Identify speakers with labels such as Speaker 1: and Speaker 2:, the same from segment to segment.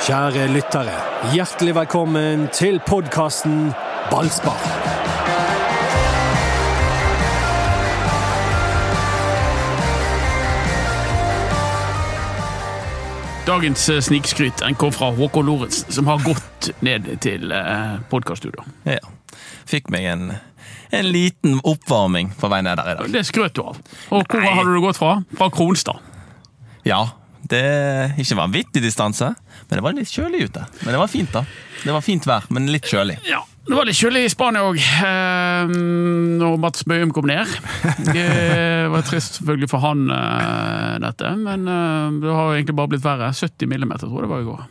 Speaker 1: Kjære lyttere, hjertelig velkommen til podkasten Ballspar.
Speaker 2: Dagens eh, snikskryt en kom fra Håkon Lorentzen, som har gått ned til eh, podkaststudio.
Speaker 3: Ja. Fikk meg en, en liten oppvarming på vei ned der i dag.
Speaker 2: Det skrøt du av. Og hvor
Speaker 3: Nei.
Speaker 2: hadde du gått fra? Fra Kronstad.
Speaker 3: Ja, det ikke vanvittig distanse, men det var litt kjølig ute. Men det var fint, da. Det var fint vær, men litt kjølig.
Speaker 2: Ja, Det var litt kjølig i Spania òg, eh, når Mats Bøhum kom ned. Det var trist selvfølgelig for han, eh, dette, men eh, det har jo egentlig bare blitt verre. 70 millimeter, tror jeg det var i går.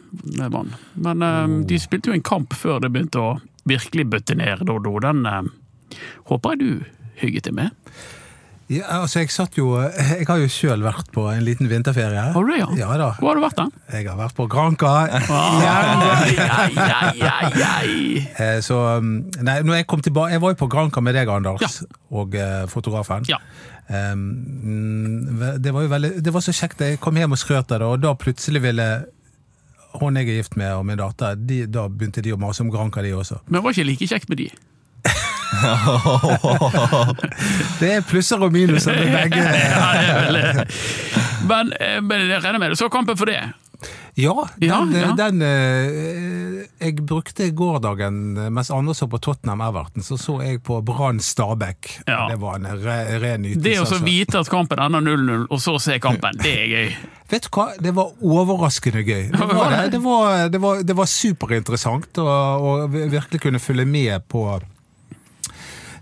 Speaker 2: med vann. Men eh, de spilte jo en kamp før det begynte å virkelig bøtte ned, Doddo. Den eh, håper jeg du hygget deg med.
Speaker 4: Ja, altså, jeg satt jo Jeg har jo sjøl vært på en liten vinterferie.
Speaker 2: Har du det, ja?
Speaker 4: Ja da.
Speaker 2: Hvor har du vært, da?
Speaker 4: Jeg har vært på Granca.
Speaker 2: Ai, ai, ai, ai, ai.
Speaker 4: Eh, Så um, Nei, når jeg kom tilbake Jeg var jo på Granca med deg, Anders,
Speaker 2: Ja.
Speaker 4: og eh, fotografen.
Speaker 2: Ja.
Speaker 4: Um, mm, det var jo veldig Det var så kjekt. Jeg kom hjem og skrøt av det, og da plutselig ville hun jeg er gift med, og min datter, de, da begynte de å mase om Granca, de også.
Speaker 2: Men det var ikke like kjekt med de.
Speaker 4: Det er plusser og minuser med begge.
Speaker 2: Ja, det er vel det. Men, eh, men jeg regner med det. Så kampen for det.
Speaker 4: Ja, den,
Speaker 2: Ja, ja.
Speaker 4: den eh, Jeg brukte gårsdagen, eh, mens andre så på Tottenham Everton, så så jeg på Brann Stabæk.
Speaker 2: Ja.
Speaker 4: Det var en re, ren ytelse.
Speaker 2: Det å så
Speaker 4: altså.
Speaker 2: vite at kampen ender 0-0, og så se kampen, det er gøy.
Speaker 4: Vet du hva, det var overraskende gøy. Det var, det. Det var, det var, det var superinteressant å, å virkelig kunne følge med på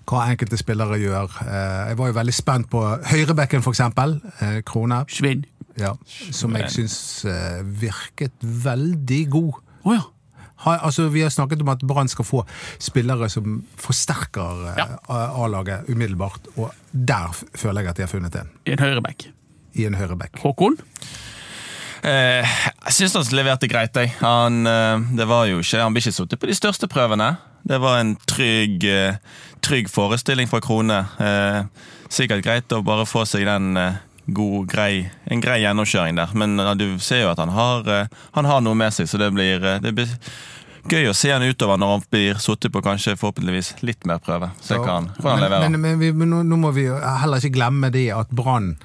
Speaker 4: hva enkelte spillere gjør. Eh, Jeg var jo veldig spent på høyrebekken, for eksempel. eh, Krone,
Speaker 2: Svinn.
Speaker 4: ja, som jeg syns eh, virket veldig god.
Speaker 2: Å ja.
Speaker 4: Ha, altså, vi har snakket om at Brann skal få spillere som forsterker eh,
Speaker 2: Ja.
Speaker 4: A- A-laget umiddelbart, og der f- føler jeg at de har funnet en.
Speaker 2: I en høyreback.
Speaker 4: I en høyreback.
Speaker 2: Håkon?
Speaker 3: Eh, jeg syns han leverte greit. Jeg. Han, eh, det var jo ikke, han ble ikke sittet på de største prøvene. Det var en trygg, eh, trygg forestilling fra Krone. Eh, sikkert greit å bare få seg den eh, god, grei, en grei gjennomkjøring der. Men eh, du ser jo at han har, eh, han har noe med seg, så det blir, eh, det blir gøy å se han utover når han blir sittet på kanskje forhåpentligvis litt mer prøve. Se hva han, hvordan han
Speaker 4: men,
Speaker 3: leverer.
Speaker 4: men, men, vi, men nå, nå må vi jo heller ikke glemme det at Brann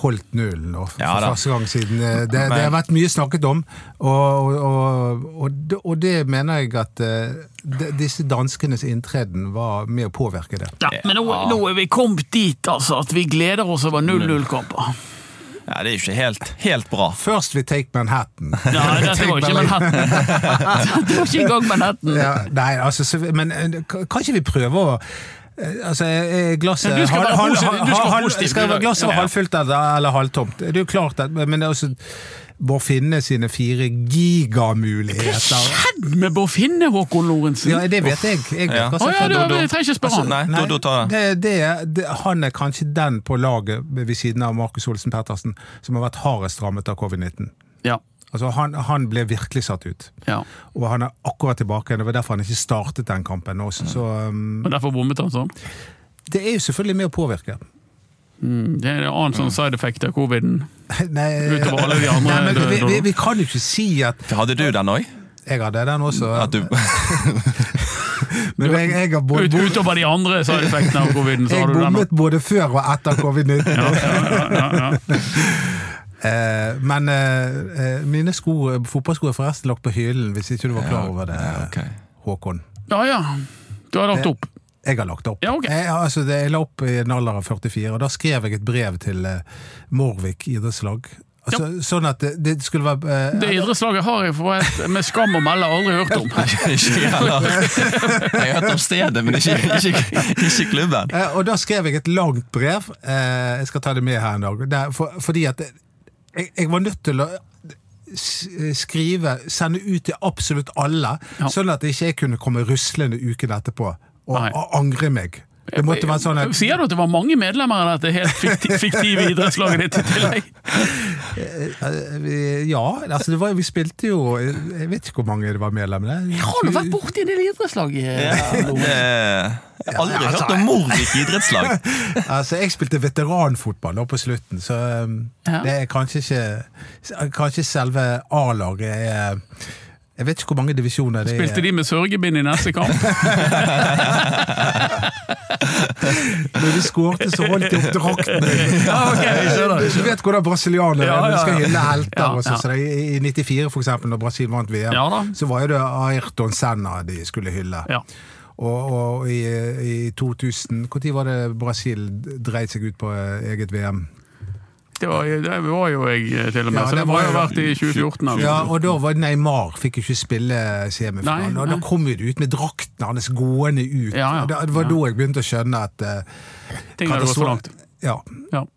Speaker 4: holdt nullen nå, for
Speaker 3: Ja da.
Speaker 4: første gang siden. eh, Det,
Speaker 3: Men-
Speaker 4: det har vært mye snakket om, og, og, og, det- og det mener jeg at eh, de, disse danskenes inntreden var med å påvirke det.
Speaker 2: Ja, men nå, nå er vi kommet dit, altså, at vi gleder oss over 0-0-kamper.
Speaker 3: Ja, det er jo ikke helt, helt bra.
Speaker 4: First we take Manhattan.
Speaker 2: Ja, dette var ikke Manhattan. Det var ikke engang Manhattan.
Speaker 4: Ja, nei, altså, så, men eh, kan kan ikke vi prøve å eh, Altså, er glasset
Speaker 2: Men du skal
Speaker 4: halv-
Speaker 2: være
Speaker 4: halv-
Speaker 2: positiv, du skal
Speaker 4: halv-
Speaker 2: være
Speaker 4: halv-
Speaker 2: positiv i
Speaker 4: Skal
Speaker 2: dag.
Speaker 4: glasset
Speaker 2: Ja.
Speaker 4: være halvfullt eller, eller halvtomt? Det er jo klart at Men det er også Bård Finne sine fire gigamuligheter
Speaker 2: Skjedd med Bård Finne, Håkon Lorentzen?
Speaker 4: Ja, det vet jeg. Jeg vet
Speaker 3: Ja.
Speaker 4: hva
Speaker 2: Å
Speaker 4: som
Speaker 2: ja, Altså,
Speaker 4: skjedde.
Speaker 2: du
Speaker 3: Dodo.
Speaker 2: jeg trenger ikke spørre han.
Speaker 3: Nei,
Speaker 4: Nei,
Speaker 3: Dodo tar den.
Speaker 4: det, det, det, han er kanskje den på laget ved siden av Markus Olsen Pettersen som har vært hardest rammet av covid-19.
Speaker 2: Ja,
Speaker 4: Altså, han, han ble virkelig satt ut.
Speaker 2: ja.
Speaker 4: Og han er akkurat tilbake igjen. Det var derfor han ikke startet den kampen. Også. Så um,
Speaker 2: Og derfor bommet han sånn?
Speaker 4: det er jo selvfølgelig med å påvirke.
Speaker 2: Det er en annen sånn side effect av coviden.
Speaker 4: Nei,
Speaker 2: Utover alle de andre
Speaker 4: Nei, men, vi,
Speaker 2: døde,
Speaker 4: vi,
Speaker 2: da.
Speaker 4: vi kan jo ikke si at
Speaker 3: Hadde du den òg?
Speaker 4: Jeg hadde den også,
Speaker 3: At du
Speaker 4: men jeg, jeg har både,
Speaker 2: Ut, utover de andre side effectene av coviden, så
Speaker 4: jeg
Speaker 2: har du den.
Speaker 4: bommet både før og etter covid-19. Eh, men eh, eh, mine sko, fotballsko er forresten lagt på hyllen, hvis ikke du var klar over det,
Speaker 3: ok.
Speaker 4: Håkon.
Speaker 2: Ja, ja. Du har lagt opp.
Speaker 4: Jeg har lagt opp.
Speaker 2: Ja, ok.
Speaker 4: jeg, altså, det, jeg la opp i en alder av 44, og da skrev jeg et brev til eh, Morvik idrettslag. Altså, Sånn at det, det skulle være eh,
Speaker 2: Det idrettslaget har jeg for et, med skam å melde aldri hørt om.
Speaker 3: Ikke jeg heller. Jeg har hørt om stedet, men ikke, ikke, ikke klubben.
Speaker 4: Eh, Og da skrev jeg et langt brev. Eh, Jeg skal ta det med her en dag. Der, for, fordi at jeg, jeg var nødt til å s- skrive, sende ut til absolutt alle,
Speaker 2: Ja.
Speaker 4: sånn at ikke jeg kunne komme ruslende uken etterpå og,
Speaker 2: Nei.
Speaker 4: og angre meg. Det måtte være sånn at
Speaker 2: Sier du at det var mange medlemmer av dette helt fikti- fiktive idrettslaget ditt i tillegg?
Speaker 4: eh, vi- Ja, altså det var, vi spilte jo Jeg vet ikke hvor mange det var medlemmer.
Speaker 2: Har du vært borti en del idrettslag? eh, Lorentzen?
Speaker 3: Eh, Jeg har aldri hørt om mord i et idrettslag.
Speaker 4: Altså, jeg spilte veteranfotball nå på slutten, så um,
Speaker 2: Ja.
Speaker 4: det er kanskje ikke Kanskje selve A-laget er Jeg vet ikke hvor mange divisjoner det
Speaker 2: Spilte
Speaker 4: er.
Speaker 2: de med sørgebind i neste kamp?
Speaker 4: Når de skårte, så holdt de opp drakten.
Speaker 2: Ja, ok, jeg skjønner, jeg
Speaker 4: Du vet hvordan brasilianere
Speaker 2: Ja, ja,
Speaker 4: er. De skal
Speaker 2: ja.
Speaker 4: hylle helter.
Speaker 2: Ja,
Speaker 4: og sånn,
Speaker 2: ja.
Speaker 4: så det- I i 94, for eksempel, når Brasil vant VM,
Speaker 2: Ja da.
Speaker 4: så var jo det Ayrton Senna de skulle hylle.
Speaker 2: Ja.
Speaker 4: Og, og i, i 2000 Når var det Brasil dreit seg ut på eh, eget VM?
Speaker 2: Det var, jo- det var jo jeg eh, til og med,
Speaker 4: Ja,
Speaker 2: så det
Speaker 4: det
Speaker 2: må
Speaker 4: var
Speaker 2: jo ha
Speaker 4: jo-
Speaker 2: vært i altså. 2014. Eller?
Speaker 4: Ja,
Speaker 2: noe.
Speaker 4: og da var Neymar fikk jo ikke spille semifinalen.
Speaker 2: Nei,
Speaker 4: og da
Speaker 2: nei.
Speaker 4: kom jo det ut med drakten hans gående ut.
Speaker 2: Ja, ja.
Speaker 4: Og da- Det var
Speaker 2: Ja.
Speaker 4: da jeg begynte å skjønne at eh,
Speaker 2: Ting hadde gått for
Speaker 4: katastrof-
Speaker 2: langt.
Speaker 4: Ja.
Speaker 2: Ja.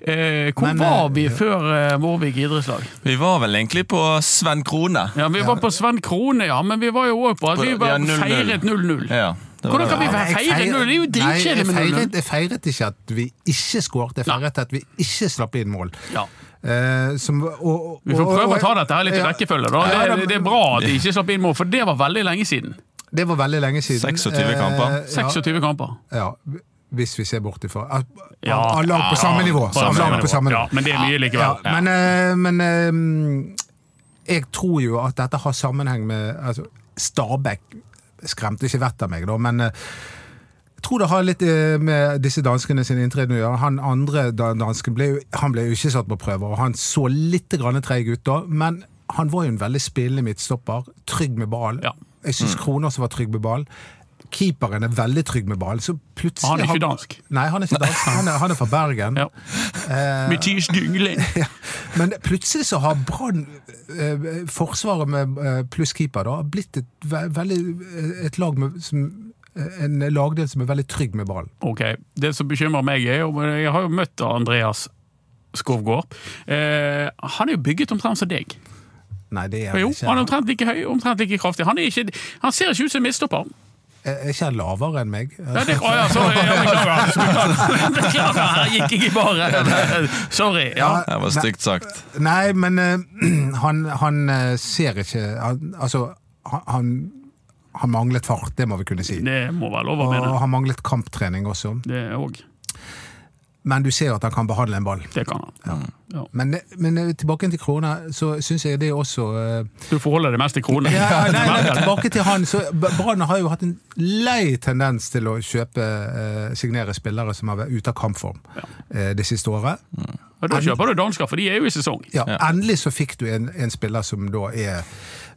Speaker 2: Eh, hvor
Speaker 4: Men,
Speaker 2: var
Speaker 4: eh,
Speaker 2: vi
Speaker 4: ja.
Speaker 2: før eh, Morvik idrettslag?
Speaker 3: Vi var vel egentlig på Sven Krone.
Speaker 2: Ja, Vi var på Sven Krone, ja, men vi var jo òg på at vi
Speaker 3: Ja,
Speaker 2: bare
Speaker 3: 0-0.
Speaker 2: feiret 0-0.
Speaker 3: Ja, det var
Speaker 2: Hvordan
Speaker 3: det.
Speaker 2: kan vi være
Speaker 4: Jeg
Speaker 2: feiret 0-0?
Speaker 4: feir-
Speaker 2: Det er jo
Speaker 4: Nei,
Speaker 2: dritkjedelig
Speaker 4: jeg
Speaker 2: med 0-0.
Speaker 4: feiret- Jeg feiret ikke at vi ikke skåret, jeg feiret at vi ikke slapp inn mål.
Speaker 2: Ja.
Speaker 4: Eh, som, og, og,
Speaker 2: Vi får
Speaker 4: og-
Speaker 2: prøve å
Speaker 4: og-
Speaker 2: ta dette her litt i
Speaker 4: Ja.
Speaker 2: rekkefølge. da. Det,
Speaker 4: Ja, da-
Speaker 2: det er bra at de ikke slapp inn mål, for det var veldig lenge siden.
Speaker 4: Det var veldig lenge siden.
Speaker 3: 26 kamper.
Speaker 4: Eh, ja.
Speaker 2: 26 kamper.
Speaker 4: Ja, hvis vi ser bort ifra at-
Speaker 2: Ja.
Speaker 4: Alle lag på samme
Speaker 2: Ja,
Speaker 4: nivå.
Speaker 2: på samme
Speaker 4: Alle lag
Speaker 2: nivå.
Speaker 4: på samme nivå.
Speaker 2: Ja, men det er mye
Speaker 4: Ja,
Speaker 2: likevel.
Speaker 4: men, eh, men eh, jeg tror jo at dette har sammenheng med altså, Stabæk skremte ikke vettet av meg, da, men eh, jeg tror det har litt eh, med disse danskene sin inntreden å gjøre. Han andre da- dansken ble, jo- han ble jo ikke satt på prøver, og han så litt grann treig ut da, men han var jo en veldig spillende midtstopper, trygg med ball.
Speaker 2: Ja. Mm.
Speaker 4: Jeg syns Kroner også var trygg med ball. Keeperen er veldig trygg med ball, så plutselig
Speaker 2: Han er ikke dansk.
Speaker 4: Nei, han er ikke dansk. Han er, han er fra Bergen.
Speaker 2: Ja.
Speaker 4: Eh.
Speaker 2: Mathias Dyngelin.
Speaker 4: Ja, Men plutselig så har Brann, eh, forsvaret med eh, pluss keeper, da, blitt et, ve veldig, eh, et lag med som, eh, en lagdel som er veldig trygg med ballen.
Speaker 2: Ok, Det som bekymrer meg, er jo Jeg har jo møtt Andreas Skovgård. Eh, han er jo bygget omtrent som deg.
Speaker 4: Nei, det er han
Speaker 2: Jo,
Speaker 4: ikke.
Speaker 2: han er omtrent like høy omtrent like kraftig. Han, er ikke, han ser ikke ut som en midtstopper.
Speaker 4: Er er ikke han lavere enn meg?
Speaker 2: Ja, det, å, ja, sorry, ja, beklager. Beklager, Beklager, her gikk jeg i bare. Sorry. Ja.
Speaker 4: Ja,
Speaker 3: Det var stygt sagt.
Speaker 4: Nei, men eh, han, han eh, ser ikke han, Altså, han- han, han manglet fart, det må vi kunne si.
Speaker 2: Det må være lov å
Speaker 4: Og
Speaker 2: mene.
Speaker 4: han manglet kamptrening også.
Speaker 2: Det òg.
Speaker 4: Men du ser jo at han kan behandle en ball.
Speaker 2: Det kan han. Ja.
Speaker 4: Men, men eh, tilbake til Krone, så syns jeg det også eh,
Speaker 2: Du forholder deg mest til kroner.
Speaker 4: Ja, ja, nei, nei, tilbake til han. Så B- Brann har jo hatt en lei tendens til å kjøpe, eh, signere spillere som har vært ute av kampform eh, det siste året.
Speaker 2: Og da kjøper du dansker, for de er jo i sesong.
Speaker 4: Ja, Endelig så fikk du en, en spiller som da er,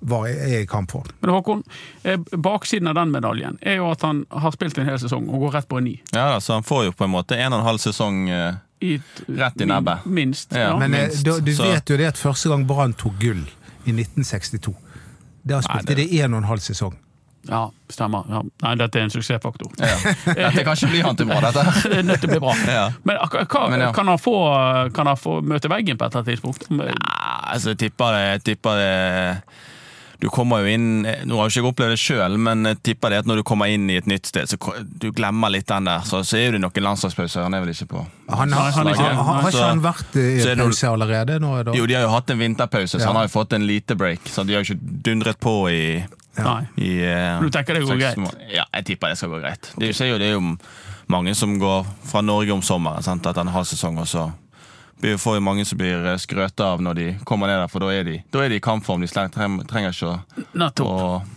Speaker 4: var, er i kampform.
Speaker 2: Men Håkon, eh, baksiden av den medaljen er jo at han har spilt en hel sesong og går rett på en ni.
Speaker 3: Ja, da, så han får jo på en måte en og en halv sesong eh,
Speaker 2: I et-
Speaker 3: Rett i nebbet.
Speaker 2: Minst. Ja.
Speaker 3: Ja,
Speaker 4: Men eh,
Speaker 3: minst,
Speaker 4: da, du
Speaker 3: så-
Speaker 4: vet jo det at første gang Brann tok gull, i 1962, da spilte de en og en halv sesong.
Speaker 2: ja, stemmer. Ja. Nei, dette er en suksessfaktor.
Speaker 3: ja. Dette kan ikke bli han til bra, dette. her.
Speaker 2: Det er nødt til å bli bra.
Speaker 3: Ja.
Speaker 2: Men, ak- hva,
Speaker 3: Men ja.
Speaker 2: kan, han få, kan han få møte veggen på et eller annet tidspunkt? Om-
Speaker 3: Nei, Altså, jeg tipper det, jeg tipper det Du kommer jo inn Nå har jo ikke jeg opplevd det sjøl, men jeg tipper det at når du kommer inn i et nytt sted, så ko- du glemmer litt den der. Så, så er det noen landslagspauser. Han er vel ikke på
Speaker 4: Han, har-
Speaker 2: Nei, han er ikke-
Speaker 4: har- har, har ikke
Speaker 3: Så-
Speaker 4: han vært eh, i
Speaker 3: så er det noe-
Speaker 4: pause allerede nå? Da?
Speaker 3: Jo, de har jo hatt en vinterpause, så
Speaker 4: Ja.
Speaker 3: han har jo fått en lite break. Så de har jo ikke dundret på i,
Speaker 2: Nei.
Speaker 3: i eh,
Speaker 2: Du tenker det går
Speaker 3: seks
Speaker 2: greit?
Speaker 3: måneder. Ja, jeg tipper det skal gå greit. Det, er jo- ser jo, det er jo mange som går fra Norge om sommeren, sant? at en halv sesong, og så blir- får jo mange som blir eh, skrøta av når de kommer ned der, for da er de, da er de i kampform. De sleng- treng- trenger ikke å
Speaker 2: Nettopp.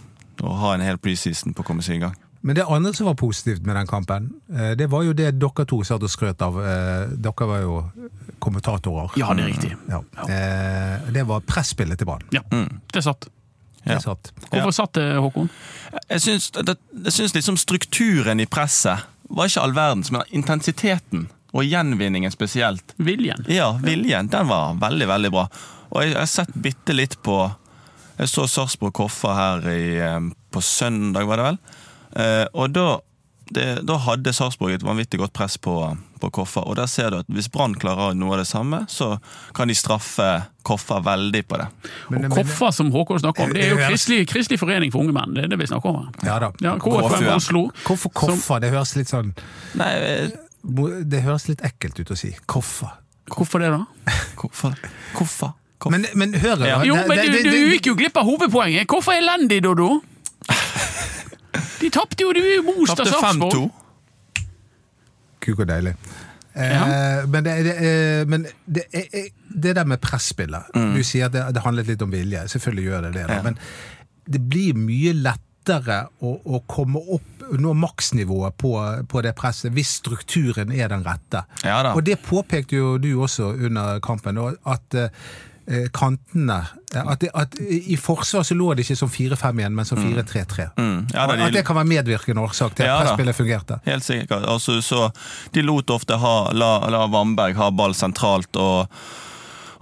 Speaker 3: og, og ha en hel preseason på å komme seg i gang.
Speaker 4: Men det andre som var positivt med den kampen, eh, det var jo det dere to satt og skrøt av. Eh, Dere var jo kommentatorer.
Speaker 2: Ja, det er riktig.
Speaker 4: Ja. Eh, Det var presspillet til Brann.
Speaker 2: Ja,
Speaker 3: Mm.
Speaker 2: det satt.
Speaker 4: Det satt.
Speaker 2: Hvorfor satt det, Håkon?
Speaker 3: Jeg syns, det, jeg syns liksom strukturen i presset var ikke all verdens, men intensiteten og gjenvinningen spesielt.
Speaker 2: Viljen.
Speaker 3: Ja, viljen, den var veldig, veldig bra. Og jeg jeg har sett bitte litt på Jeg så Sarpsborg Koffa her i, eh, på søndag, var det vel. Eh, og da, det, da hadde Sarpsborg et vanvittig godt press på, på Koffa. Og der ser du at hvis Brann klarer noe av det samme, så kan de straffe Koffa veldig på det.
Speaker 2: Og Koffa, som Håkon snakker om, det er jo Kristelig, kristelig forening for unge menn. Det er det vi snakker om her.
Speaker 4: Ja da.
Speaker 2: Ja, KFM
Speaker 3: KFUM.
Speaker 2: Oslo.
Speaker 4: Hvorfor koffa? Det høres litt sånn
Speaker 3: Nei, eh,
Speaker 4: mo- Det høres litt ekkelt ut å si. Koffa.
Speaker 2: Hvorfor det, da?
Speaker 3: Hvorfor? Hvorfor? Hvorfor?
Speaker 4: Men, men hør
Speaker 3: Ja.
Speaker 4: da,
Speaker 2: Jo,
Speaker 4: det-
Speaker 2: men
Speaker 4: det-
Speaker 2: du,
Speaker 4: det-
Speaker 2: du
Speaker 4: det-
Speaker 2: gikk jo glipp av hovedpoenget. Hvorfor elendig, Dodo? De De tapte jo, du er jo most av
Speaker 3: Tapte
Speaker 2: Sarpsborg.
Speaker 3: 5-2.
Speaker 4: Kuk og deilig. Eh,
Speaker 2: Ja.
Speaker 4: Men, det, det, eh, men det, eh, eh, det der med presspillet
Speaker 3: Mm.
Speaker 4: Du sier at det, det handlet litt om vilje. Selvfølgelig gjør det det. da, Men det blir mye lettere å, å komme opp nå maksnivået på, på det presset hvis strukturen er den rette.
Speaker 3: Ja da.
Speaker 4: Og det påpekte jo du også under kampen, og at eh, eh, kantene eh, at, det, at i forsvar så lå det ikke som 4-5 igjen, men som 4-3-3.
Speaker 3: Mm. Ja, da,
Speaker 4: Og
Speaker 3: de-
Speaker 4: at det kan være medvirkende årsak til at
Speaker 3: Ja da.
Speaker 4: presspillet fungerte.
Speaker 3: Helt sikkert. Altså, så de lot ofte ha, la, la Vamberg ha ball sentralt, og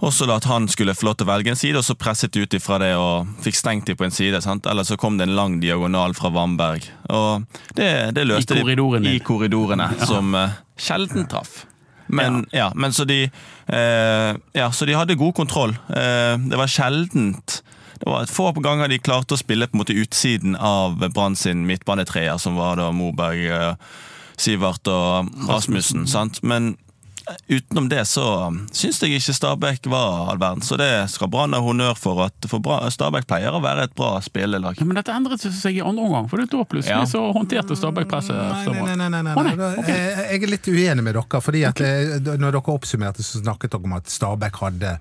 Speaker 3: også la at han skulle få lov til å velge en side, og så presset de ut ifra det og fikk stengt de på en side. Sant? Eller så kom det en lang diagonal fra Vamberg. Og det, det løste
Speaker 2: I korridoren
Speaker 3: de
Speaker 2: din.
Speaker 3: i korridorene, som eh, sjelden traff. Men, ja. men så de eh, Ja, så de hadde god kontroll. Eh, det var sjeldent det var Få ganger de klarte å spille på en måte utsiden av Brann sin midtbanetreer, som var da Moberg, eh, Sivert og Rasmussen. sant? Men utenom det så syns jeg ikke Stabæk var all verden. Så det skal Brann ha honnør for. at for Brann- Stabæk pleier å være et bra spillelag.
Speaker 2: Ja, men dette endret seg i andre omgang, for da plutselig
Speaker 3: Ja.
Speaker 2: så håndterte Stabæk presset. så
Speaker 4: Nei,
Speaker 2: bra.
Speaker 4: nei, nei, nei, nei,
Speaker 2: eh, Å,
Speaker 4: nei.
Speaker 2: nei.
Speaker 4: Da,
Speaker 2: ok.
Speaker 4: eh, Jeg er litt uenig med dere. fordi at eh, da- Når dere oppsummerte, så snakket dere om at Stabæk hadde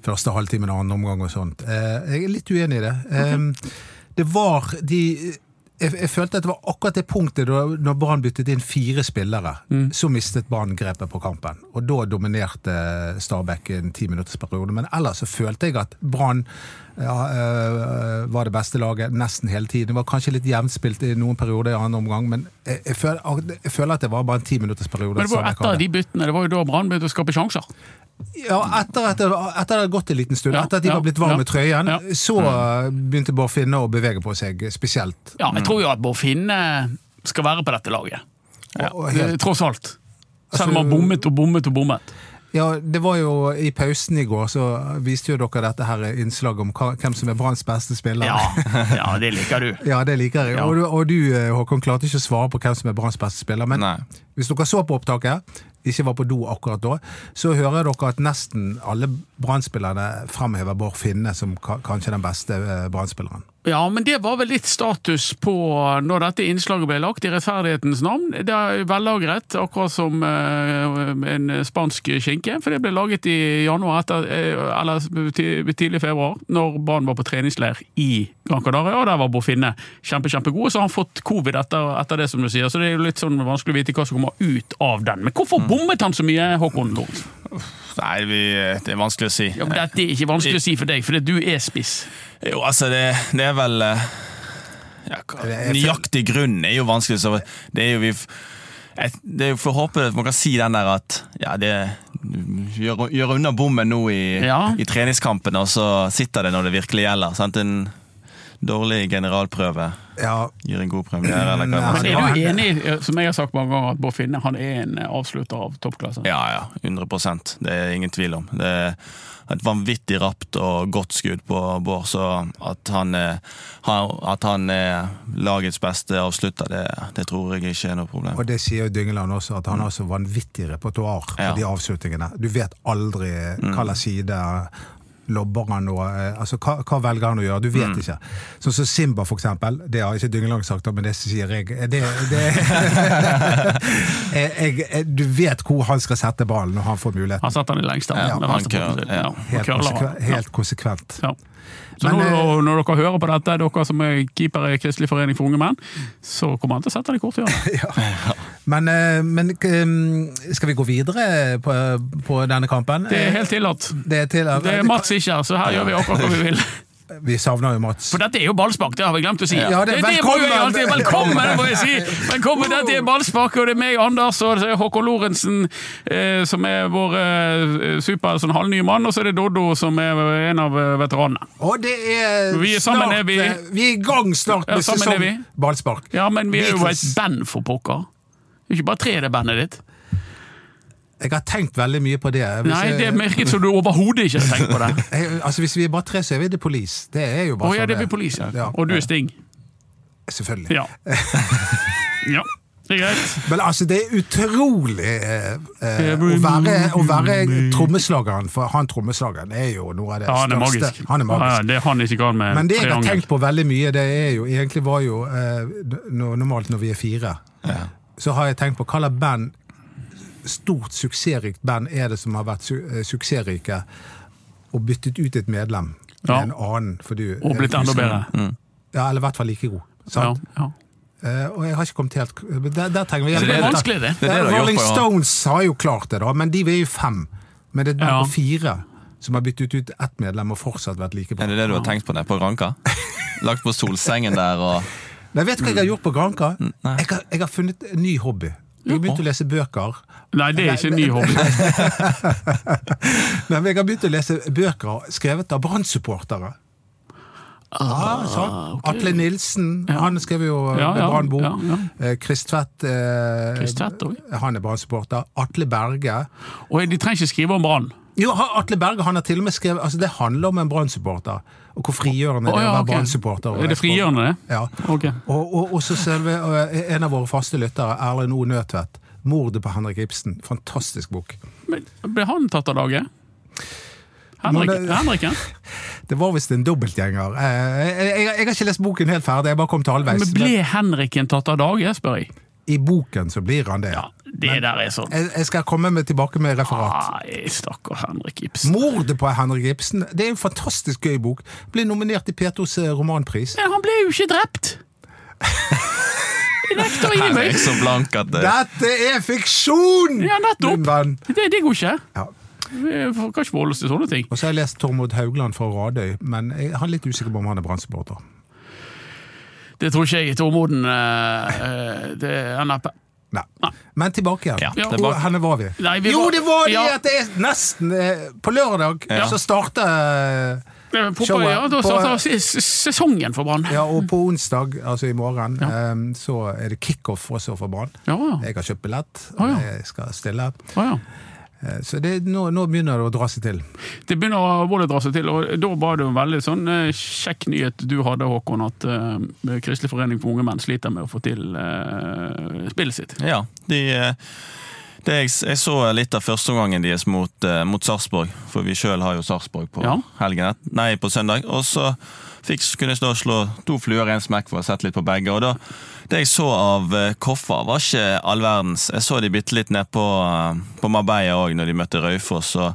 Speaker 4: første halvtime og andre omgang og sånt. Eh, Jeg er litt uenig i det. Em, Det var de jeg, jeg følte at det var akkurat det punktet da når Brann byttet inn fire spillere,
Speaker 2: Mm.
Speaker 4: så mistet Brann grepet på kampen. Og da dominerte Stabæk en timinuttersperiode. Men ellers så følte jeg at Brann ja, øh, var det beste laget nesten hele tiden. Det var kanskje litt jevnspilt i noen perioder i andre omgang, men jeg, jeg, føler, jeg føler at det var bare en timinuttersperiode.
Speaker 2: Men det var jo
Speaker 4: Stabæk
Speaker 2: etter
Speaker 4: hadde.
Speaker 2: de byttene, det var jo da Brann begynte å skape sjanser.
Speaker 4: Ja, etter at det, etter at det hadde gått en liten stund,
Speaker 2: Ja,
Speaker 4: etter at de
Speaker 2: ja,
Speaker 4: var blitt
Speaker 2: ja,
Speaker 4: varme i trøyen,
Speaker 2: ja. Mm.
Speaker 4: så øh, begynte Bård Finne å bevege på seg, spesielt.
Speaker 2: Ja, jeg tror jo at Bård Finne skal være på dette laget.
Speaker 4: Og, og
Speaker 2: Eh,
Speaker 4: helt
Speaker 2: Tross alt. Selv om han
Speaker 4: Altså-
Speaker 2: bommet og bommet og bommet.
Speaker 4: Ja, det var jo I pausen i går så viste jo dere dette her innslaget om hva- hvem som er Branns beste spiller.
Speaker 2: Ja, ja det liker du.
Speaker 4: Ja, det liker jeg.
Speaker 2: Ja.
Speaker 4: Og, du, og du, eh, Håkon, klarte ikke å svare på hvem som er Branns beste spiller. Men
Speaker 3: Nei.
Speaker 4: hvis dere så på opptaket, ikke var på do akkurat da, så hører dere at nesten alle Brann-spillerne fremhever Bård Finne som ka- kanskje den beste eh, Brann-spilleren.
Speaker 2: Ja, men det var vel litt status på når dette innslaget ble lagt, i rettferdighetens navn. Det er vellagret, akkurat som eh, en spansk skinke. For det ble laget i januar, etter, eh, eller ti- tidlig i februar, når barn var på treningsleir i Gran Canaria. Og der var Bofinne kjempe, kjempegod. Og så har han fått covid etter, etter det, som du sier. Så det er jo litt sånn vanskelig å vite hva som kommer ut av den. Men hvorfor bommet han så mye, Håkon Lorentzen?
Speaker 3: Nei, vi, det er vanskelig å si.
Speaker 2: Ja, men dette er ikke vanskelig å si for deg, fordi du er spiss.
Speaker 3: Jo, altså, det, det er vel eh, ja, hva-
Speaker 4: er-
Speaker 3: Nøyaktig grunn er jo vanskelig. Så det er jo vi f- jeg- Det er jo for å håpe at man kan si den der at ja, det Gjør, gjør unna bommen nå i,
Speaker 2: Ja.
Speaker 3: i treningskampen, og så sitter det når det virkelig gjelder. Sant? En dårlig generalprøve
Speaker 4: Ja,
Speaker 3: gir en god premiere, eller hva
Speaker 4: Nei.
Speaker 3: man
Speaker 2: Men
Speaker 3: sier.
Speaker 2: er du enig, eh, som jeg har sagt mange ganger, at Bård Finne han er en eh, avslutter av toppklasse?
Speaker 3: Ja, ja. 100 Det er ingen tvil om. Det er et vanvittig rapt og godt skudd på Bård, så at han er, han- at han er lagets beste avslutter, det, det tror jeg ikke er noe problem.
Speaker 4: Og det sier jo Dyngeland også, at han har så vanvittig repertoar på
Speaker 3: Ja.
Speaker 4: de avslutningene. Du vet aldri
Speaker 2: Mm.
Speaker 4: hva slags side lobber han og eh, altså, hva, hva velger han å gjøre? Du
Speaker 2: Mm.
Speaker 4: vet ikke. Sånn som Simba, for eksempel. Det har ikke Dyngeland sagt, men det sier jeg. Eh, Det, det, Eh, jeg, jeg. Du vet hvor han skal sette ballen når han får
Speaker 2: Han
Speaker 4: muligheten.
Speaker 2: setter den i lengste. Ja,
Speaker 3: han kører, ja.
Speaker 4: Helt, konsekvent,
Speaker 2: ja.
Speaker 4: helt konsekvent.
Speaker 2: Ja. Så
Speaker 4: Men, eh,
Speaker 2: nå, når dere hører på dette, dere som er keepere i Kristelig forening for unge menn, så kommer han til å sette det i korthjørnet.
Speaker 4: Men, eh, men eh, skal vi gå videre på, på denne kampen? Eh,
Speaker 2: Det er helt tillatt.
Speaker 4: Det er, til, eh,
Speaker 2: Det er Mats ikke her, så her gjør vi akkurat hva vi vil.
Speaker 4: Vi savner jo Mats.
Speaker 2: For dette er jo ballspark, det har vi glemt å si.
Speaker 4: Ja, det er
Speaker 2: det må jo jeg
Speaker 4: velkommen!
Speaker 2: alltid, velkommen, må jeg si! Velkommen, dette er ballspark, og det er meg, Anders, og det er Håkon Lorentzen, eh, som er vår eh, super sånn halvnye mann, og så er det Doddo, som er en av eh, veteranene.
Speaker 4: Og det er
Speaker 2: Vi er sammen,
Speaker 4: snart,
Speaker 2: er vi.
Speaker 4: eh, vi er i gang snart
Speaker 2: Ja,
Speaker 4: med
Speaker 2: sammen er
Speaker 4: sesong
Speaker 2: vi.
Speaker 4: ballspark.
Speaker 2: Ja, men vi er jo et
Speaker 4: Beatles.
Speaker 2: band, for pokker. Det er ikke bare tre i det bandet ditt.
Speaker 4: Jeg har tenkt veldig mye på det. Hvis
Speaker 2: Nei, det
Speaker 4: jeg,
Speaker 2: merket som du overhodet ikke har tenkt på det.
Speaker 4: jeg, altså, hvis vi er bare tre, så er vi The Police. Det er
Speaker 2: Å
Speaker 4: jo bare
Speaker 2: ja,
Speaker 4: sånn
Speaker 2: det blir politi, ja.
Speaker 4: Ja,
Speaker 2: Og du er Sting.
Speaker 4: selvfølgelig.
Speaker 2: Ja. ja. Det er greit.
Speaker 4: Men altså, det er utrolig eh, eh, å, være, å være trommeslageren, for han trommeslageren er jo noe av det
Speaker 2: Ja, han er
Speaker 4: største.
Speaker 2: magisk.
Speaker 4: Han er magisk.
Speaker 2: Ja, ja, det er han ikke gal med
Speaker 4: Men det jeg har
Speaker 2: triangel.
Speaker 4: tenkt på veldig mye, det er jo egentlig var jo eh, når- Normalt når vi er fire, så har jeg tenkt på hva slags band Stort suksessrikt band er det som har vært su eh, suksessrike og byttet ut et medlem
Speaker 2: Ja.
Speaker 4: med en annen? For du, eh,
Speaker 2: Og blitt enda bedre.
Speaker 4: Mm. Ja, eller i hvert fall like god.
Speaker 2: Ja,
Speaker 4: Sant?
Speaker 2: ja.
Speaker 4: Eh, og jeg har ikke kommet helt men der, der trenger vi
Speaker 2: Så det er vanskelig, det.
Speaker 3: Det er det du har
Speaker 4: Rolling
Speaker 3: gjort på, ja.
Speaker 4: Stones har jo klart det, da, men de er jo fem. Men det er et band
Speaker 2: Ja.
Speaker 4: på fire som har byttet ut ett medlem og fortsatt vært like bra.
Speaker 3: Er det det du har tenkt på nede på Granka? Lagt på solsengen der og
Speaker 4: Men vet du hva jeg har
Speaker 2: Mm.
Speaker 4: gjort på Granka?
Speaker 3: nei.
Speaker 4: Jeg har, jeg har funnet en ny hobby. Jeg har begynt å lese bøker.
Speaker 2: Nei, det er ikke en ny hobby.
Speaker 4: Nei, men jeg har begynt å lese bøker skrevet av Brann-supportere. Ah, sånn.
Speaker 2: ok.
Speaker 4: Atle Nilsen, han skrev jo
Speaker 2: Ja, ja,
Speaker 4: Brann-bok.
Speaker 2: ja, ja.
Speaker 4: Eh, Chris Tvedt, eh,
Speaker 2: Chris Tvedt, oi.
Speaker 4: han er Brann-supporter. Atle Berge.
Speaker 2: Og de trenger ikke skrive om Brann.
Speaker 4: Jo, ha- Atle Berge han har til og med skrevet altså Det handler om en Brann-supporter, og hvor
Speaker 2: Å,
Speaker 4: frigjørende det er å
Speaker 2: ja,
Speaker 4: være
Speaker 2: ok.
Speaker 4: Brann-supporter. og
Speaker 2: Er det frigjørende, det?
Speaker 4: Ja.
Speaker 2: Ok.
Speaker 4: Og, og, og så selve eh, en av våre faste lyttere, Erlend O. Nødtvedt. 'Mordet på Henrik Ibsen'. Fantastisk bok.
Speaker 2: Men ble han tatt av dage? Henrik,
Speaker 4: Men det-
Speaker 2: Henriken?
Speaker 4: Det var visst en dobbeltgjenger. Eh, Jeg, jeg, jeg har ikke lest boken helt ferdig, jeg bare kom til halvveis.
Speaker 2: Men ble Henriken tatt av dage, spør jeg?
Speaker 4: I boken så blir han det.
Speaker 2: Ja, det der er sånn.
Speaker 4: Jeg, jeg skal komme med, tilbake med referat.
Speaker 2: Nei, stakkar Henrik Ibsen.
Speaker 4: 'Mordet på Henrik Ibsen' det er en fantastisk gøy bok. Ble nominert til P2s eh, romanpris.
Speaker 2: Men han ble jo ikke drept! Jeg nekter å gi
Speaker 3: Her er
Speaker 2: meg!
Speaker 3: jeg så blank at eh, det,
Speaker 4: Dette er fiksjon!
Speaker 2: Ja, nettopp.
Speaker 4: min venn.
Speaker 2: Det, det går ikke.
Speaker 4: Ja.
Speaker 2: Vi får- kan ikke forholde oss til sånne ting.
Speaker 4: Og så har jeg lest Tormod Haugland fra Radøy, men jeg han er litt usikker på om han er Brann-supporter.
Speaker 2: Det tror ikke jeg er Tormoden eh, eh, Det er NRP.
Speaker 4: Nei. Men tilbake igjen.
Speaker 3: Ja,
Speaker 2: Ja.
Speaker 4: Hvor
Speaker 3: tilbake.
Speaker 4: henne var vi?
Speaker 2: Nei, vi
Speaker 4: jo,
Speaker 2: var-
Speaker 4: det var det
Speaker 2: Ja.
Speaker 4: at det er nesten eh, På lørdag
Speaker 3: Ja.
Speaker 4: så starter eh,
Speaker 2: Eh, På, på,
Speaker 4: Showet
Speaker 2: ja, da
Speaker 4: på-
Speaker 2: starter se- se- sesongen for Brann.
Speaker 4: Ja, og på onsdag, altså i morgen, eh, så er det kickoff også for Brann.
Speaker 2: Ja, ja.
Speaker 4: Jeg har kjøpt billett,
Speaker 2: Å,
Speaker 4: og
Speaker 2: ja.
Speaker 4: jeg skal stille.
Speaker 2: Å, ja.
Speaker 4: Eh, Så det, nå, nå begynner det å dra seg til.
Speaker 2: Det begynner å både dra seg til, og da var det jo en veldig sånn eh, kjekk nyhet du hadde, Håkon, at eh, Kristelig forening for unge menn sliter med å få til eh, spillet sitt.
Speaker 3: Ja, de, eh, det jeg, jeg så litt av førsteomgangen deres mot, eh, mot Sarpsborg, for vi sjøl har jo Sarpsborg på,
Speaker 2: Ja.
Speaker 3: helgen et- nei, på søndag. Og så fikk, kunne jeg stå og slå to fluer i en smekk for å ha sett litt på begge. Og da, det jeg så av eh, Koffa, var ikke all verdens. Jeg så de bitte litt ned på, eh, på Marbella òg, når de møtte Raufoss. og